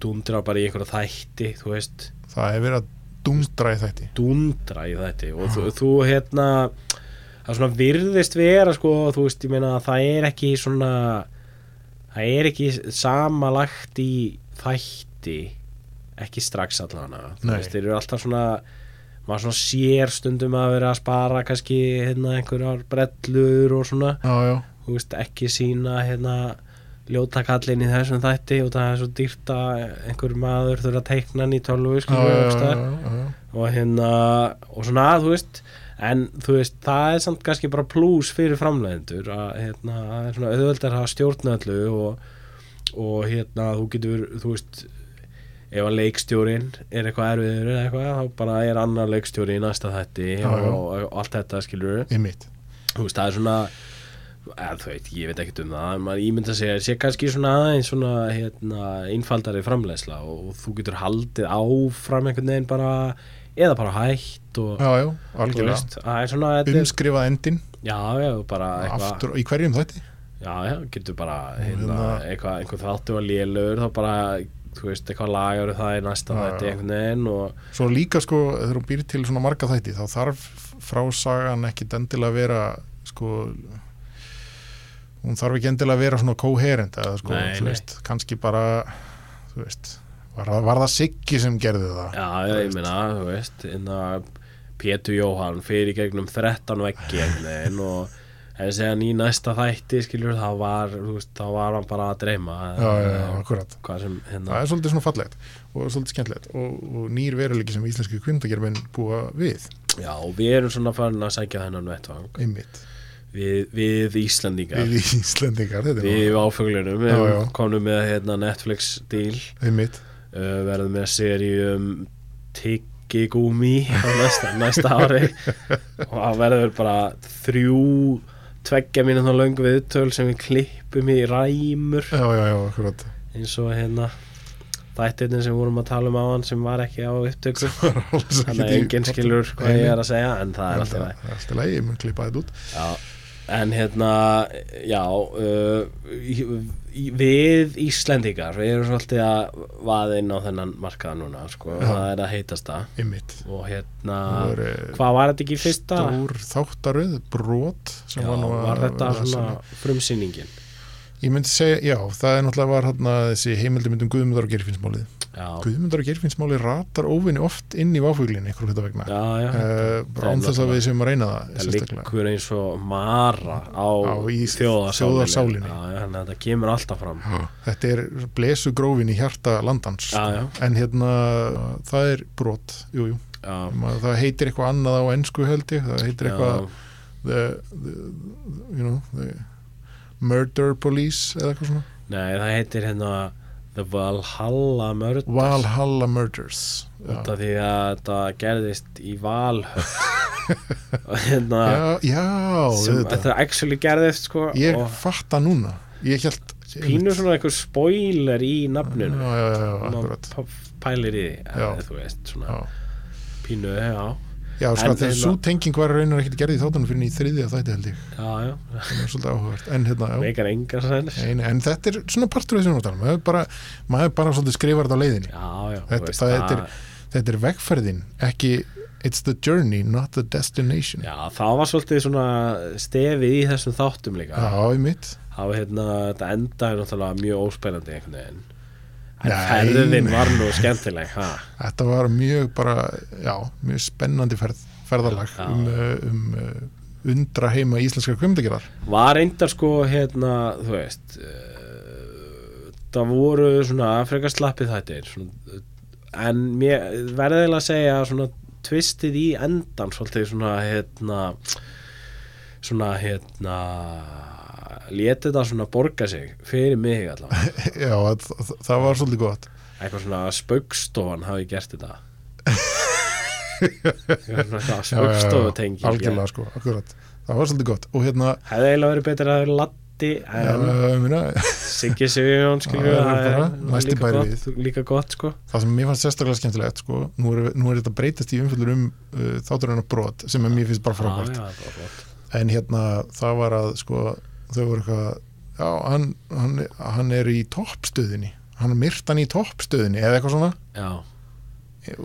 S1: dundra bara í einhverja þætti þú veist,
S2: það er verið að dúndra í þætti
S1: dundra í þætti og
S2: Ah.
S1: þú, þú hérna það svona virðist vera sko þú veist, ég meina það er ekki svona það er ekki samalagt í þætti ekki strax allavega þú
S2: Nei.
S1: veist, þeir eru alltaf svona maður svona sér stundum að vera að spara kannski hérna einhverjar brellur og svona
S2: já, já,
S1: þú veist, ekki sína hérna ljótakallin í þessum þætti og það er svo dýrt að einhver maður þurfa að teikna hann í tölvu
S2: já,
S1: skilur,
S2: já,
S1: einhvers
S2: já,
S1: staðar.
S2: já, já.
S1: og hérna og svona, þú veist en þú veist, það er samt kannski bara plús fyrir framleiðendur að hérna, það er svona auðveldar að stjórna öllu og, og hérna, þú getur þú veist, ef að leikstjórin er eitthvað erfiður eða eitthvað, þá bara er annar leikstjóri í næsta þætti
S2: Já, já.
S1: og, og allt þetta skilur
S2: einmitt
S1: þú veist, það er svona eða, þú veit, ég veit ekkert um það en maður ímynda sig að sé kannski svona aðeins svona hérna, einfaldari framleiðsla og, og þú getur haldið áfram einhvern veginn bara eða bara hægt og
S2: já, já,
S1: þú
S2: algjörlega
S1: veist, það er svona þetta er,
S2: umskrifað endin
S1: já, já, bara eitthvað
S2: aftur, í hverjum þætti
S1: já, já, getur bara hérna,
S2: hérna-
S1: eitthvað, einhvern þáttu að lélur þá bara, þú veist, eitthvað lagar það í næsta
S2: Já,
S1: þetta
S2: já.
S1: einhvern veginn og
S2: Svo líka sko, þegar hún býr til svona marga þætti þá þarf frásagan ekki endilega að vera sko hún þarf ekki endilega að vera svona kóherend eða sko,
S1: Nei,
S2: þú
S1: nei.
S2: veist, kannski bara þú veist, var, það- var það Siggi sem gerði það?
S1: já, já, ég meina, þú veist inna, Pétur Jóhann fyrir í gegnum 13 veggi einhvern veginn og en segjan í næsta þætti skilur þá var, þú veist, þá var hann bara að dreyma Eh,
S2: Já, já, já, akkurat.
S1: hvað sem, hérna,
S2: Það er svolítið svona fallegt og svolítið skemmtilegt og, og nýr veruleiki sem íslenski kvindagerfinn búa við,
S1: já, og við erum svona farin að sækja þennan vettvang
S2: einmitt
S1: við, við Íslandingar
S2: við Íslendingar, þetta er
S1: við áfuglunum,
S2: Já,
S1: við
S2: já.
S1: komum með hérna, Netflix deal
S2: nú- einmitt,
S1: uh, verðum með seríum Tiggigumi á næsta, næsta ári og það verður bara þrjú tveggja mínúna löngu viðtöl sem við klippum í ræmur
S2: já, já, já, akkurat
S1: eins og hérna þættirnir sem vorum að tala um á hann sem var ekki á upptöku þannig að enginn skilur hvað ég er að segja en það er alltaf
S2: Það er alltaf lægi, ég mun klippa þetta út
S1: Já, en hérna, já, uh, í- við Íslendingar, við erum svolítið að vaða inn á þennan markað núna, sko,
S2: Já.
S1: það er að heitast það
S2: Einmitt
S1: og hérna,
S2: Það voru, eh,
S1: hvað var þetta ekki í fyrsta?
S2: Stór þáttaröð, brot
S1: Já,
S2: sem var
S1: var,
S2: nú að
S1: þetta
S2: að-
S1: svona frumsýningin?
S2: Ég myndi segja, já, það er náttúrulega var hérna þessi heimildumyndum Guðmundar og Geirfinnsmálið
S1: Já,
S2: Guðmundar og Geirfinnsmálið ratar óvinni oft inn í váfuglinn einhver hluta vegna
S1: já, já,
S2: Eh, bara án
S1: það er
S2: þess að við séum að reyna það
S1: það
S2: sérstaklega.
S1: liggur eins og mara á,
S2: Á í þjóðarsálinni.
S1: þjóðarsálinni. Já, já, þannig að þetta kemur alltaf fram.
S2: Þetta er blesu grófin í hjarta landans
S1: Já, já,
S2: en hérna, það er brot jú, jú.
S1: já.
S2: Maður- það heitir eitthvað annað á ensku held ég, það heitir eitthvað the, the, you know, the murder police eða eitthvað svona
S1: Já, nei, það heitir hérna The Valhalla Murders.
S2: Valhalla Murders já.
S1: út af því að þetta gerðist í Valhöll og hérna
S2: já, já,
S1: sem
S2: auðvitað.
S1: þetta actually gerðist sko
S2: ég
S1: og
S2: fatta núna ég held
S1: pínu svona einhver spoiler í
S2: já,
S1: nafninu
S2: já, já, já,
S1: Maður
S2: akkurat
S1: p- pælir í því
S2: Já.
S1: en þú veist svona
S2: já,
S1: pínu já,
S2: já sko,
S1: En
S2: þegar
S1: þeirna-
S2: svo tenging var raunar ekkert gerði í þáttunum fyrir í þriðja þætti held ég
S1: já, já,
S2: það er svolítið áhugavert en, hérna, já,
S1: meikar engar sælis já,
S2: en, en þetta er svona partur af þessum átalum maður bara, maður bara svolítið skrifar þetta á leiðinni
S1: já, þú
S2: Þetta-
S1: veist,
S2: það
S1: það-
S2: heitir- þetta er vegferðin, ekki it's the journey, not the destination já,
S1: já, það var svolítið svona stefið í þessum þáttum líka
S2: í mitt
S1: þá hérna, þetta endaði náttúrulega mjög óspennandi einhvern veginn en
S2: Nei,
S1: ferðin
S2: nei.
S1: var nú skemmtileg ha
S2: Þetta var mjög bara, já, mjög spennandi ferð, ferðarlag
S1: Já.
S2: eh, um, uh, um uh, undra heima íslenska kvimdagerar
S1: var reyndar sko hérna þú veist eh, það voru svona frekar slappið þættir svona, en mér verði eiginlega að segja að svona tvistið í endan svolítið svona hérna svona hérna léti þetta svona borga sig fyrir mig allavega
S2: já, það, það- það var svolítið gott
S1: eitthvað svona spaukstofan hafi gert þetta Eitthvað svona
S2: Já, já, já,
S1: spaukstofutengi
S2: algjörlega sko, akkurat það var svolítið gott og hérna
S1: hefði eiginlega verið betur að það er laddi
S2: já,
S1: en
S2: ég meina,
S1: Siggi Sigurjón skilur
S2: Já,
S1: við,
S2: það er
S1: það er
S2: bara næsti
S1: líka
S2: bær
S1: gott, líka gott sko
S2: það sem mér fannst sérstaklega skemmtilegt sko, nú er, nú er þetta breytist í umfjöllur um uh, þátturinn og brot sem er mér finnst bara frábært
S1: Já, já, það er gott.
S2: en hérna það var að sko, þau voru eitthvað já, hann, hann, hann er í toppstöðinni hann er myrtan í toppstöðinni eða eitthvað svona
S1: já,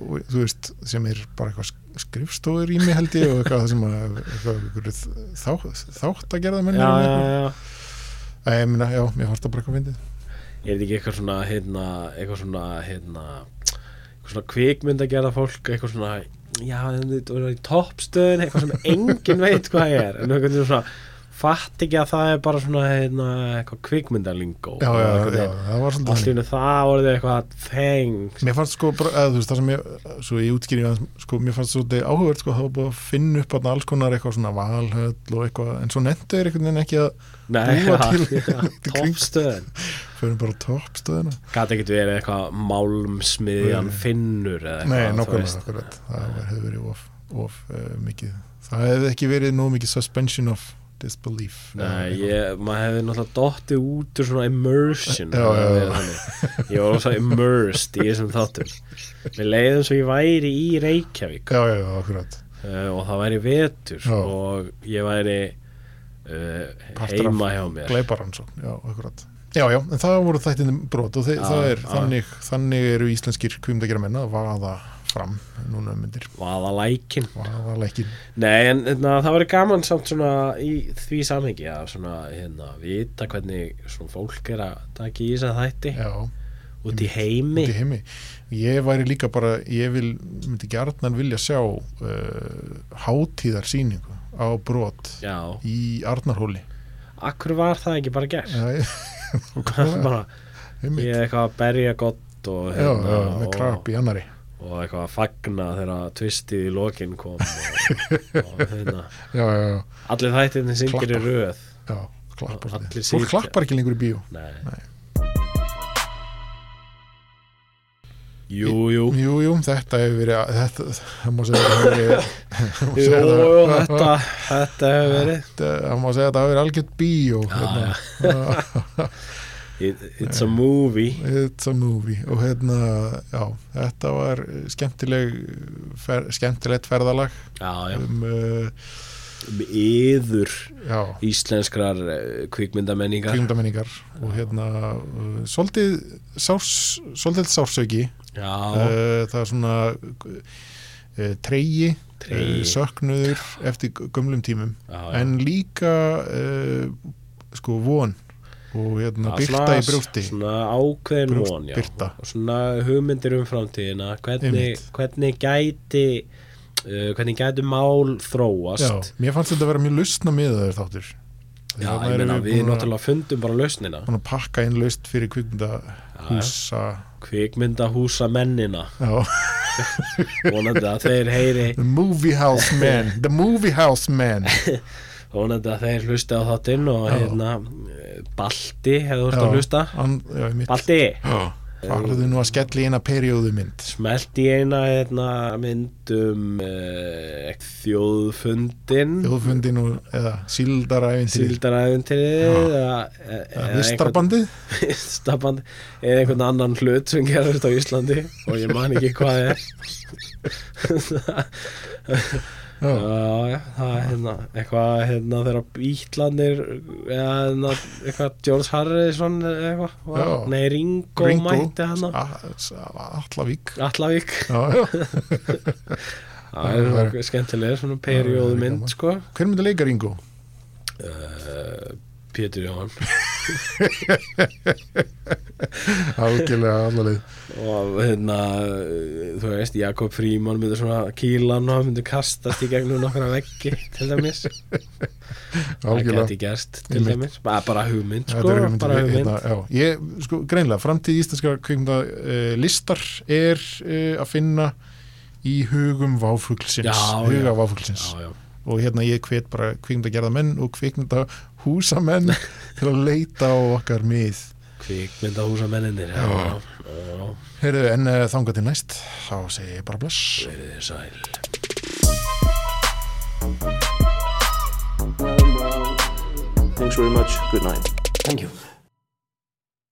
S2: og, þú veist, sem er bara eitthvað skrifstóður í mig held ég og eitthvað sem að eitthvað, eitthvað, þá, þátt að gerða menn
S1: já, já, já.
S2: ég meina, já, mér fannst það bara eitthvað fyndið
S1: er þetta ekki eitthvað svona hérna, eitthvað svona hérna, eitthvað svona kvikmynd að gera fólk eitthvað svona já, þetta er í toppstöðin eitthvað sem enginn veit hvað það er en einhvern veginn svona fatt ekki að það er bara svona hérna, eitthvað kvikmyndalingó
S2: já, já,
S1: Einhvern
S2: já,
S1: veginn.
S2: það var
S1: allt
S2: svolítið
S1: í
S2: þannig.
S1: hennu það orðið eitthvað þeng
S2: Mér fannst sko, bara, eða, þú veist, það sem ég, svo ég útskýri aðeins, sko, mér fannst svolítið áhugverð, sko, það var búið að finna upp þarna alls konar eitthvað svona valhöll og eitthvað, en svo nendu er einhvern veginn ekki að
S1: Nei,
S2: Búa
S1: já,
S2: til-
S1: já, toppstöðin
S2: förum bara á toppstöðina.
S1: gæti ekkert verið eitthvað málmsmiðjan
S2: Nei.
S1: finnur eða eitthvað
S2: Nei,
S1: þú
S2: nákvæmlega,
S1: veist.
S2: akkurat. Það var, hefði verið of, of uh, mikið. Það hefði ekki verið nóg mikið suspension of disbelief.
S1: Nei, ég, maður hefði náttúrulega dottið út úr svona immersion
S2: Já, já, já.
S1: já. ég var ósað immersed í þessum þáttum við leiðum svo ég væri í Reykjavík
S2: Já, já, já, akkurat.
S1: uh, og það væri vetur
S2: Já.
S1: og ég væri uh,
S2: Partur af
S1: heima hjá mér
S2: Gleiparansókn, já, akkurat. Já, já, en það voru þættinni brot og þe-
S1: Já,
S2: það er,
S1: já.
S2: þannig, þannig eru íslenskir kvimdagjara menna að vaða fram núna um myndir.
S1: vaða lækin
S2: Vaða leikin.
S1: Nei, en hérna, það væri gaman samt svona í því samhengi að svona hérna, vita hvernig svona fólk er að taka í þess að þætti
S2: Já,
S1: út í
S2: út
S1: heimi
S2: í heimi ég væri líka bara, ég vil myndi gjarnan vilja sjá uh, hátíðarsýningu á brot
S1: Já,
S2: í Arnarhóli
S1: akkur var það ekki bara gert?
S2: Já, ég-
S1: bara,
S2: einmitt.
S1: ég er eitthvað að berja gott og, hérna
S2: já, já, með
S1: og,
S2: krap í annari
S1: og eitthvað að fagna þegar tvistið í lokin kom og, og hérna
S2: já, já, já,
S1: allir þættirni syngir í
S2: Klappa.
S1: röð
S2: já klappar
S1: Allir
S2: svolítið.
S1: sitja.
S2: fólk klappar ekki lengur í bíó
S1: Nei.
S2: Nei.
S1: Jú, jú
S2: jú, jú, þetta hefur verið að- þetta, það má segja að það hefur verið- það má
S1: Jú,
S2: segja að það-
S1: jú, þetta, þetta hefur verið
S2: þetta- það má segja að það hefur verið algjört bíó hérna.
S1: It, It's a movie
S2: It's a movie og hérna, já, þetta var eh, skemmtileg eh, fer, skemmtilegt ferðalag
S1: Já, já,
S2: um, uh,
S1: um yður
S2: já,
S1: íslenskrar eh, kvikmyndamenningar
S2: kringdamenningar og hérna, uh, svolítið sárs, svolítið sársauki
S1: Já,
S2: uh, það er svona uh, tregi, eh,
S1: Tregi.
S2: söknuður eftir gömlum tímum
S1: já, já.
S2: en líka uh, sko von og hérna
S1: Já,
S2: byrta
S1: svona-
S2: í brjósti
S1: Svona ákveðin
S2: Brjóst-
S1: von, já
S2: birta.
S1: Og Svona hugmyndir um framtíðina Hvernig,
S2: Einmitt.
S1: hvernig gæti uh, Hvernig gæti mál
S2: já,
S1: þróast
S2: mér fannst þetta að vera mjög lausna með þær þáttur
S1: Já,
S2: Þarna
S1: ég
S2: erum
S1: meina við
S2: búin að-
S1: náttúrulega fundum bara lausnina
S2: búin að pakka inn laust fyrir kvikmyndahúsa
S1: Kvikmyndahúsa mennina
S2: já,
S1: Vonandi að þeir heyri
S2: the movie house man the movie house man
S1: Vonandi að þeir hlusti á þáttinn Og
S2: Já.
S1: hérna eh, Balti hefur þú að hlusta
S2: hann, já, mitt,
S1: Balti,
S2: farðu nú að skelli inn að perióðu mynd
S1: smelt í eina hérna, mynd um uh, þjóðfundin
S2: þjóðfundin og, eða síldaræfintri
S1: síldaræfintrið eða e- eða einhvern-
S2: vistarbandið
S1: vistarband eða einhvern annan hlut sem gerðist á Íslandi og ég man ekki hvað er
S2: já,
S1: Já, já, það er hérna eitthvað hérna þegar Bítlanir eða hérna, eitthvað George Harrison eða eitthvað var-
S2: Já.
S1: nei Ringo,
S2: Ringo
S1: mætti hana
S2: A- S- A- Allavík
S1: Allavík,
S2: já, já.
S1: það er svona skemmtilega svona perjóðmynd sko
S2: hver myndi leika Ringo?
S1: Pétur Jóhann
S2: algjörlega allalið
S1: og hérna þú veist, Jakob Fríman myndir svona kýlan og hann myndir kastast í gegnum nokkra veggi til dæmis það
S2: algjörlega
S1: geti gerst til
S2: Einmitt.
S1: dæmis bara, bara hugmynd
S2: Þetta
S1: sko,
S2: er hugmynd,
S1: bara hugmynd
S2: hérna, já. ég, sko, greinlega, framtíð íslenska kvikmynda uh, listar er uh, að finna í hugum váfuglsins,
S1: Já, já.
S2: huga váfuglsins
S1: já, já.
S2: og hérna ég hvet bara kvikmynda og kvikmynda húsamenn til að leita á okkar mið
S1: kvikmynda húsa menninir já,
S2: Já.
S1: já, já.
S2: Heyrðu, en uh, þangað til næst þá segi ég bara bless
S1: verið þið sæl
S4: Thanks very much. Good night.
S3: Thank you.